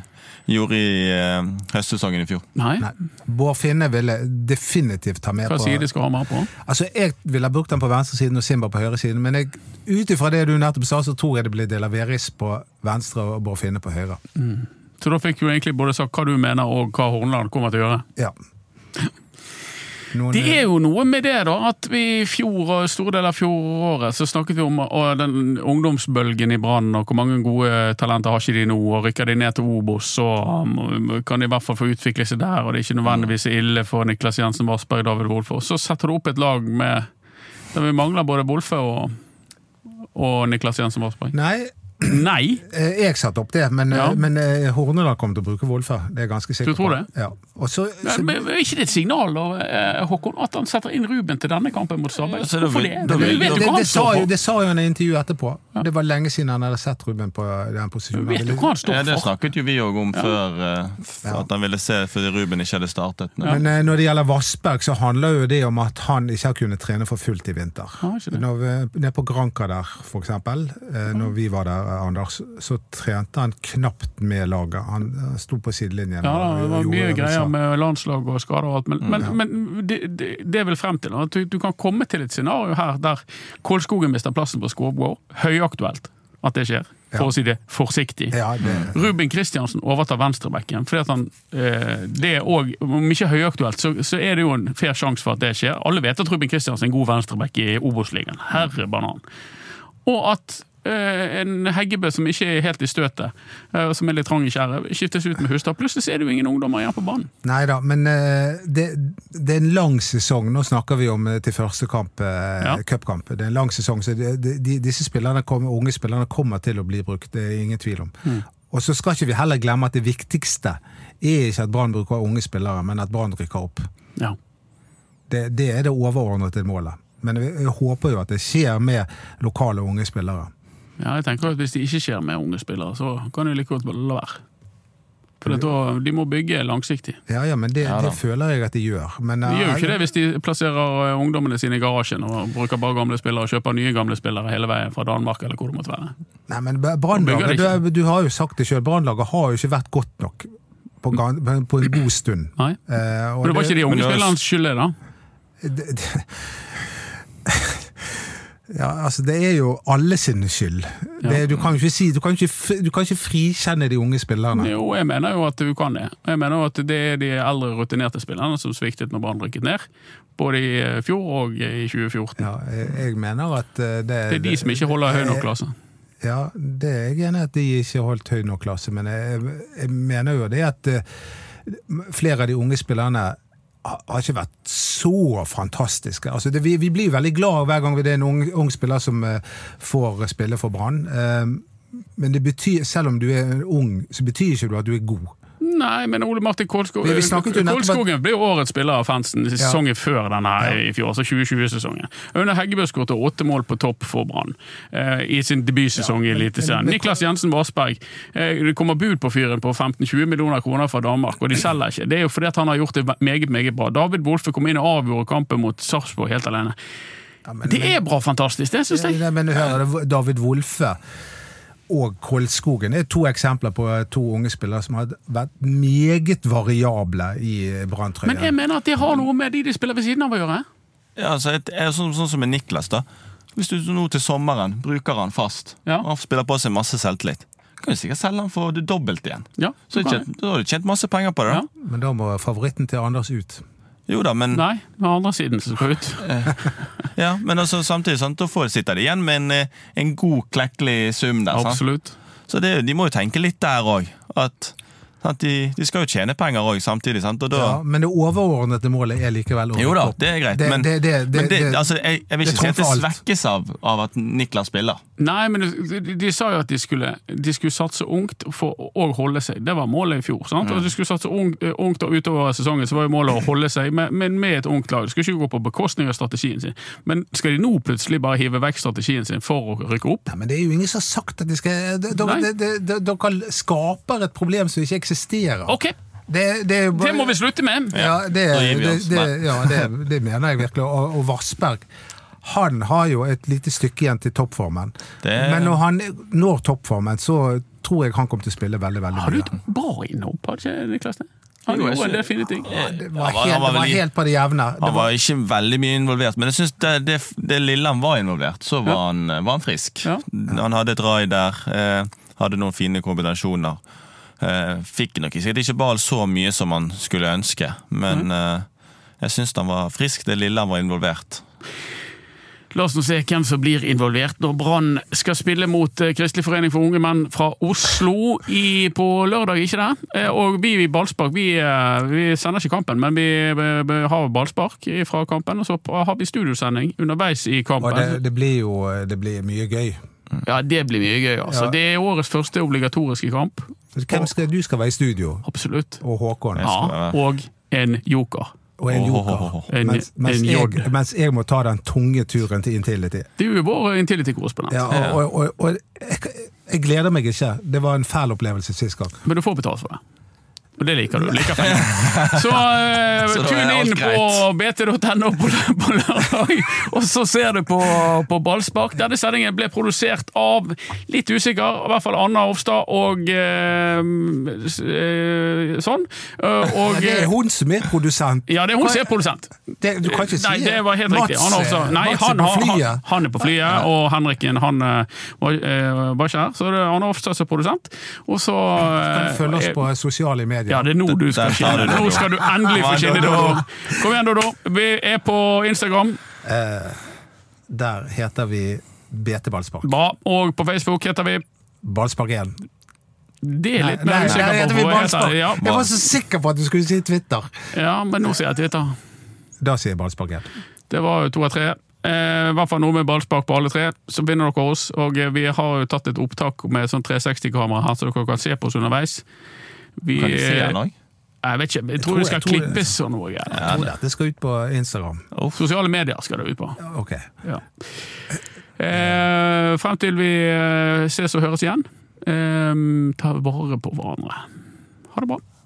Speaker 3: gjorde i eh, høstsesongen i fjor.
Speaker 2: Nei.
Speaker 4: Nei. Bård Finne ville definitivt ta med
Speaker 2: Hva
Speaker 4: på
Speaker 2: sier de skal ha mer på?
Speaker 4: Altså, Jeg ville ha brukt den på venstresiden og Simba på høyresiden, men jeg- ut ifra det du nettopp sa, så tror jeg det blir Delaveris på venstre og Bård Finne på høyre.
Speaker 2: Så da fikk du egentlig både sagt hva du mener og hva Hornland kommer til å gjøre.
Speaker 4: Ja. Noen,
Speaker 2: Det er jo noe med det, da, at vi i fjor og store deler av fjoråret så snakket vi om å, den ungdomsbølgen i Brann, og hvor mange gode talenter har ikke de nå, og rykker de ned til Obos, så um, kan de i hvert fall få utvikle seg der, og det er ikke nødvendigvis så ille for Niklas Jensen Vassberg og David Wolfe. Og så setter du opp et lag med der vi mangler både Wolfe og, og Niklas Jensen Vassberg.
Speaker 4: eh, Nei,
Speaker 2: Nei!
Speaker 4: eh, jeg satte opp det, men,
Speaker 2: Ja.
Speaker 4: eh, men eh, Horneland kommer til å bruke Wolfe. Det er jeg ganske sikker
Speaker 2: Du tror
Speaker 4: på.
Speaker 2: det?
Speaker 4: Ja. Og så, så,
Speaker 2: Men er ikke det et signal og, eh, Håkon, at han setter inn Ruben til denne kampen mot Stabæk?
Speaker 3: Så da
Speaker 2: Hvorfor
Speaker 3: vil-
Speaker 2: det?
Speaker 3: da
Speaker 2: Du
Speaker 3: vil-
Speaker 2: vet
Speaker 4: det,
Speaker 2: jo
Speaker 4: det,
Speaker 2: hva han
Speaker 4: sa
Speaker 2: står
Speaker 4: jo,
Speaker 2: for!
Speaker 4: det sa jo han i intervjuet etterpå. Det var lenge siden han hadde sett Ruben på eh, den
Speaker 2: Du
Speaker 4: posisjonen. Han
Speaker 2: vet jo
Speaker 4: ville-
Speaker 2: hva han
Speaker 3: Ja,
Speaker 2: står
Speaker 3: det
Speaker 2: for!
Speaker 3: snakket jo vi òg om før, eh, f- at han ville se fordi Ruben ikke hadde startet. Nei.
Speaker 4: Men eh, når det gjelder Vassberg, så handler jo det om at han ikke har kunnet trene for fullt i vinter.
Speaker 2: Ja, ikke det.
Speaker 4: Når vi, nede på Granca der, for eksempel, eh, når vi var der, eh, Anders, så trente han knapt med laget. Han eh, sto på
Speaker 2: Ja,
Speaker 4: sidelinjen.
Speaker 2: da,
Speaker 4: og
Speaker 2: det var
Speaker 4: gjorde
Speaker 2: mye
Speaker 4: øvelser.
Speaker 2: greier med landslag og skader og alt, men, men, men det, det, det er vel frem til at du, du kan komme til et scenario her der Kolskogen mister plassen på Skovgård. Høyaktuelt at det skjer, for å si det forsiktig.
Speaker 4: Ja, det,
Speaker 2: Ruben Kristiansen overtar venstrebekken. fordi at han, eh, det er også, Om ikke høyaktuelt, så, så er det jo en fair sjanse for at det skjer. Alle vet at Ruben Kristiansen er en god venstrebekk i Obos-ligaen. Herre banan. Og at eh, en Heggebø som ikke er helt i støtet, eh, og som er litt trang i skjæret, skiftes ut med Hustad. Plutselig så er det jo ingen ungdommer igjen på banen.
Speaker 4: nei da, men eh, det, det er en lang sesong. Nå snakker vi om eh, til første kamp, eh,
Speaker 2: Ja.
Speaker 4: cupkamp. Det er en lang sesong, så det- de, de, disse spillerne kommer, unge spillerne kommer til å bli brukt. Det er ingen tvil om.
Speaker 2: Mm.
Speaker 4: Og så skal ikke vi heller glemme at det viktigste er ikke at Brann bruker unge spillere, men at Brann rykker opp.
Speaker 2: Ja.
Speaker 4: Det, det er det overordnede målet. Men jeg jeg håper jo at det skjer med lokale unge spillere.
Speaker 2: ja, jeg tenker at Hvis det ikke skjer med unge spillere, så kan det jo like godt la være. For det, da- de må bygge langsiktig.
Speaker 4: Ja, ja, men det,
Speaker 3: Ja da.
Speaker 4: det føler jeg at de gjør. Men,
Speaker 2: De gjør jo ikke
Speaker 4: eh,
Speaker 2: det hvis de plasserer eh, ungdommene sine i garasjen og bruker bare gamle spillere og kjøper nye gamle spillere hele veien fra Danmark eller hvor det måtte være.
Speaker 4: Nei, men
Speaker 2: Bygger
Speaker 4: Brannlaget,
Speaker 2: det ikke.
Speaker 4: du, du har jo sagt det sjøl, Brannlaget har jo ikke vært godt nok på, gan- på en god stund.
Speaker 2: Nei.
Speaker 4: Eh, og
Speaker 2: Men det var ikke de
Speaker 3: men
Speaker 2: unge
Speaker 3: det var-
Speaker 2: spillernes skyld, det, da.
Speaker 4: det- det- Ja, altså Det er jo alle sin skyld. Det, du kan jo ikke si, du kan ikke, fri- du kan ikke frikjenne de unge spillerne.
Speaker 2: Jo, jeg mener jo at du kan det. Jeg mener jo at det er de eldre, rutinerte spillerne som sviktet når Brann rykket ned. Både i eh, fjor og i 2014.
Speaker 4: Ja, jeg, jeg mener at eh, det
Speaker 2: Det er de som ikke holder høy nok klasse.
Speaker 4: Ja, det er jeg enig i at de ikke har holdt høy nok klasse, men jeg, jeg mener jo det at eh, flere av de unge spillerne har har ikke vært så fantastiske. Altså det, vi, vi blir jo veldig glad hver gang det er en ung, ung spiller som eh, får spille for Brann. Eh, men det betyr, selv om du er ung, så betyr ikke det at du er god.
Speaker 2: Nei, men Ole Martin Kolsko-
Speaker 4: Vi- vi snakket jo nettopp at-
Speaker 2: Kolskogen ble jo årets spiller av fansen i sesongen før denne her i fjor, altså 2020-sesongen. Aune Heggebø skåret åtte mål på topp for Brann eh, i sin debutsesong i Eliteserien. Niklas Jensen Vassberg eh, Det kommer bud på fyren på 15-20 millioner kroner fra Danmark, og de selger ikke. Det er jo fordi at han har gjort det meget, meget bra. David Wolfe kom inn og avgjorde kampen mot Sarpsborg helt alene. Det er bra fantastisk, det syns jeg.
Speaker 4: Nei, men hør, det er David Wolfe og Kolskogen er to eksempler på eh, to unge spillere som har vært meget variable i Brann-trøyen.
Speaker 2: Men jeg mener at det har noe med de de spiller ved siden av å gjøre.
Speaker 3: Ja, altså, et, er sånn, sånn som med Niklas, da. Hvis du nå til sommeren bruker han fast,
Speaker 2: Ja.
Speaker 3: og han spiller på seg masse selvtillit, kan du sikkert selge han for det dobbelte igjen.
Speaker 2: Ja, du
Speaker 3: Så det
Speaker 2: kan
Speaker 3: tjent, da har du tjent masse penger på det. da.
Speaker 2: Ja.
Speaker 4: Men da må favoritten til Anders ut.
Speaker 3: Jo da, men,
Speaker 2: Nei, det er andre siden som skal ut.
Speaker 3: ja, men altså, samtidig sant, da får sitter de igjen med en, eh, en god, klekkelig sum der. Sant?
Speaker 2: Absolutt.
Speaker 3: Så det, de må jo tenke litt der òg. De, de skal jo tjene penger òg, samtidig. Sant? Og da,
Speaker 4: Ja, men det overordnede målet er likevel å
Speaker 3: Jo da,
Speaker 4: rykke opp.
Speaker 3: det er greit,
Speaker 4: Det-
Speaker 3: men,
Speaker 4: det- det-
Speaker 3: men det,
Speaker 4: det-
Speaker 3: altså, jeg, jeg vil
Speaker 4: det
Speaker 3: ikke si at det
Speaker 4: trumfer alt.
Speaker 3: svekkes av, av at Niklas spiller.
Speaker 2: Nei, men de, de, de sa jo at de skulle, de skulle satse ungt for, og holde seg. Det var målet i fjor. sant?
Speaker 3: Mm.
Speaker 2: Og de skulle satse ungt, eh, ungt og utover sesongen, så var jo målet å holde seg, men, men med et ungt lag. Det skulle ikke gå på bekostning av strategien sin. Men skal de nå plutselig bare hive vekk strategien sin for å rykke opp?
Speaker 4: Nei, men det er jo ingen som har sagt at de skal de-
Speaker 2: Nei.
Speaker 4: de- de- de- de- Dere skaper et problem som ikke eksisterer.
Speaker 2: Ok,
Speaker 4: Det, det, er jo bare-
Speaker 2: det må vi slutte med!
Speaker 4: Ja, det,
Speaker 3: Da gir vi oss.
Speaker 4: det, det,
Speaker 3: Nei.
Speaker 4: ja, det, det mener jeg virkelig. Og, og Vassberg han har jo et lite stykke igjen til toppformen.
Speaker 3: Det-
Speaker 4: Men når han når toppformen, så tror jeg han kommer til å spille veldig veldig
Speaker 2: Har du
Speaker 4: mye.
Speaker 2: et bra innhopp, har du ikke Niklas? det? Han
Speaker 3: Jo, jeg
Speaker 2: gjorde en
Speaker 3: sy-
Speaker 2: del fine ting.
Speaker 4: Det var
Speaker 3: Han var-
Speaker 4: helt,
Speaker 3: han var
Speaker 4: det var
Speaker 3: vel i-
Speaker 4: helt på det jevne. Det
Speaker 3: Han
Speaker 4: var,
Speaker 3: var ikke veldig mye involvert, men jeg synes det, det, det lille han var involvert, så var, han, var han frisk.
Speaker 2: Ja.
Speaker 3: Han hadde et rai der, eh, hadde noen fine kombinasjoner. Eh, fikk nok sikkert ikke ball så mye som han skulle ønske, men
Speaker 4: Mhm.
Speaker 3: eh, jeg syns han var frisk, det lille han var involvert.
Speaker 2: La oss nå se hvem som blir involvert når Brann skal spille mot eh, Kristelig forening for unge menn fra Oslo i, på lørdag, ikke det? Eh, Og vi i ballspark, vi, eh, vi sender ikke kampen, men vi eh, b- har ballspark fra kampen, og så har vi studiosending underveis i
Speaker 4: og det,
Speaker 2: kampen.
Speaker 4: det blir jo det blir mye gøy.
Speaker 2: Ja, det blir mye gøy, altså.
Speaker 4: Ja.
Speaker 2: Det er årets første obligatoriske kamp.
Speaker 4: Hvem skal, du skal være i studio,
Speaker 2: Absolutt.
Speaker 4: og Håkon.
Speaker 2: Ja,
Speaker 3: være.
Speaker 2: og en joker.
Speaker 4: Og en joker.
Speaker 3: Ohohoho.
Speaker 2: En,
Speaker 4: Mens, mens,
Speaker 2: en jod.
Speaker 4: jeg, mens jeg må ta den tunge turen til Intility.
Speaker 2: Det er jo vår Intility-korrespondent.
Speaker 4: Ja, og og, og, og jeg, jeg gleder meg ikke. Det var en fæl opplevelse sist gang.
Speaker 2: Men du får betalt for det. Og det liker du. Liker penger. Så, eh,
Speaker 3: Så da er
Speaker 2: tune
Speaker 3: alt
Speaker 2: inn på bt.no på, lø- på lørdag, og så ser du på, på Ballspark. Denne sendingen ble produsert av litt usikker, i hvert fall Anna Hofstad og eh, s- eh, sånn. Eh, Og, eh,
Speaker 4: Det er hun som er produsent.
Speaker 2: ja, det er hun som er produsent.
Speaker 4: Det, du kan ikke si
Speaker 2: Nei, det var helt
Speaker 4: Mats, eh,
Speaker 2: riktig. Han, er også, nei,
Speaker 4: Mats
Speaker 2: han,
Speaker 4: er på
Speaker 2: har-
Speaker 4: flyet.
Speaker 2: han, han er på flyet, og Henriken han eh, var, eh, var ikke her. Så det er Anna Hofstad som er produsent. Og så eh,
Speaker 4: Følg oss på sosiale medier.
Speaker 2: ja, det er nå du skal
Speaker 3: Der sa
Speaker 2: skinne.
Speaker 3: du det,
Speaker 2: Nå
Speaker 3: Dodo.
Speaker 2: skal du endelig få
Speaker 3: Ja,
Speaker 2: skinne,
Speaker 3: Dodo.
Speaker 2: Dodo. Kom igjen, Dodo. Vi er på Instagram
Speaker 4: Der heter vi BT Ballspark.
Speaker 2: bra, og på Facebook heter vi
Speaker 4: Ballspark 1.
Speaker 2: Det er litt
Speaker 4: Nei,
Speaker 2: mer
Speaker 4: der
Speaker 2: usikker
Speaker 4: heter
Speaker 2: på
Speaker 4: vi
Speaker 2: hva heter
Speaker 4: Ballspark.
Speaker 2: det. Ja,
Speaker 4: Jeg var så sikker på at du skulle si Twitter.
Speaker 2: ja, men nå sier jeg Twitter.
Speaker 4: Da sier jeg Ballspark 1.
Speaker 2: Det var jo to av tre. Eh, I hvert fall noe med ballspark på alle tre. Så finner dere oss. Og eh, vi har jo tatt et opptak med sånn 360-kamera her, så dere kan se på oss underveis. Vi,
Speaker 3: Kan de se han
Speaker 2: eh,
Speaker 3: òg?
Speaker 2: jeg vet ikke, jeg tror
Speaker 4: tror-
Speaker 2: det skal
Speaker 4: jeg tror-
Speaker 2: klippes og noe. greier.
Speaker 4: Jeg tror dette skal ut på Instagram.
Speaker 2: Sosiale medier skal det ut på.
Speaker 4: Ok.
Speaker 2: Ja. Eh, frem til vi eh, ses og høres igjen, eh, ta vare på hverandre. Ha det bra.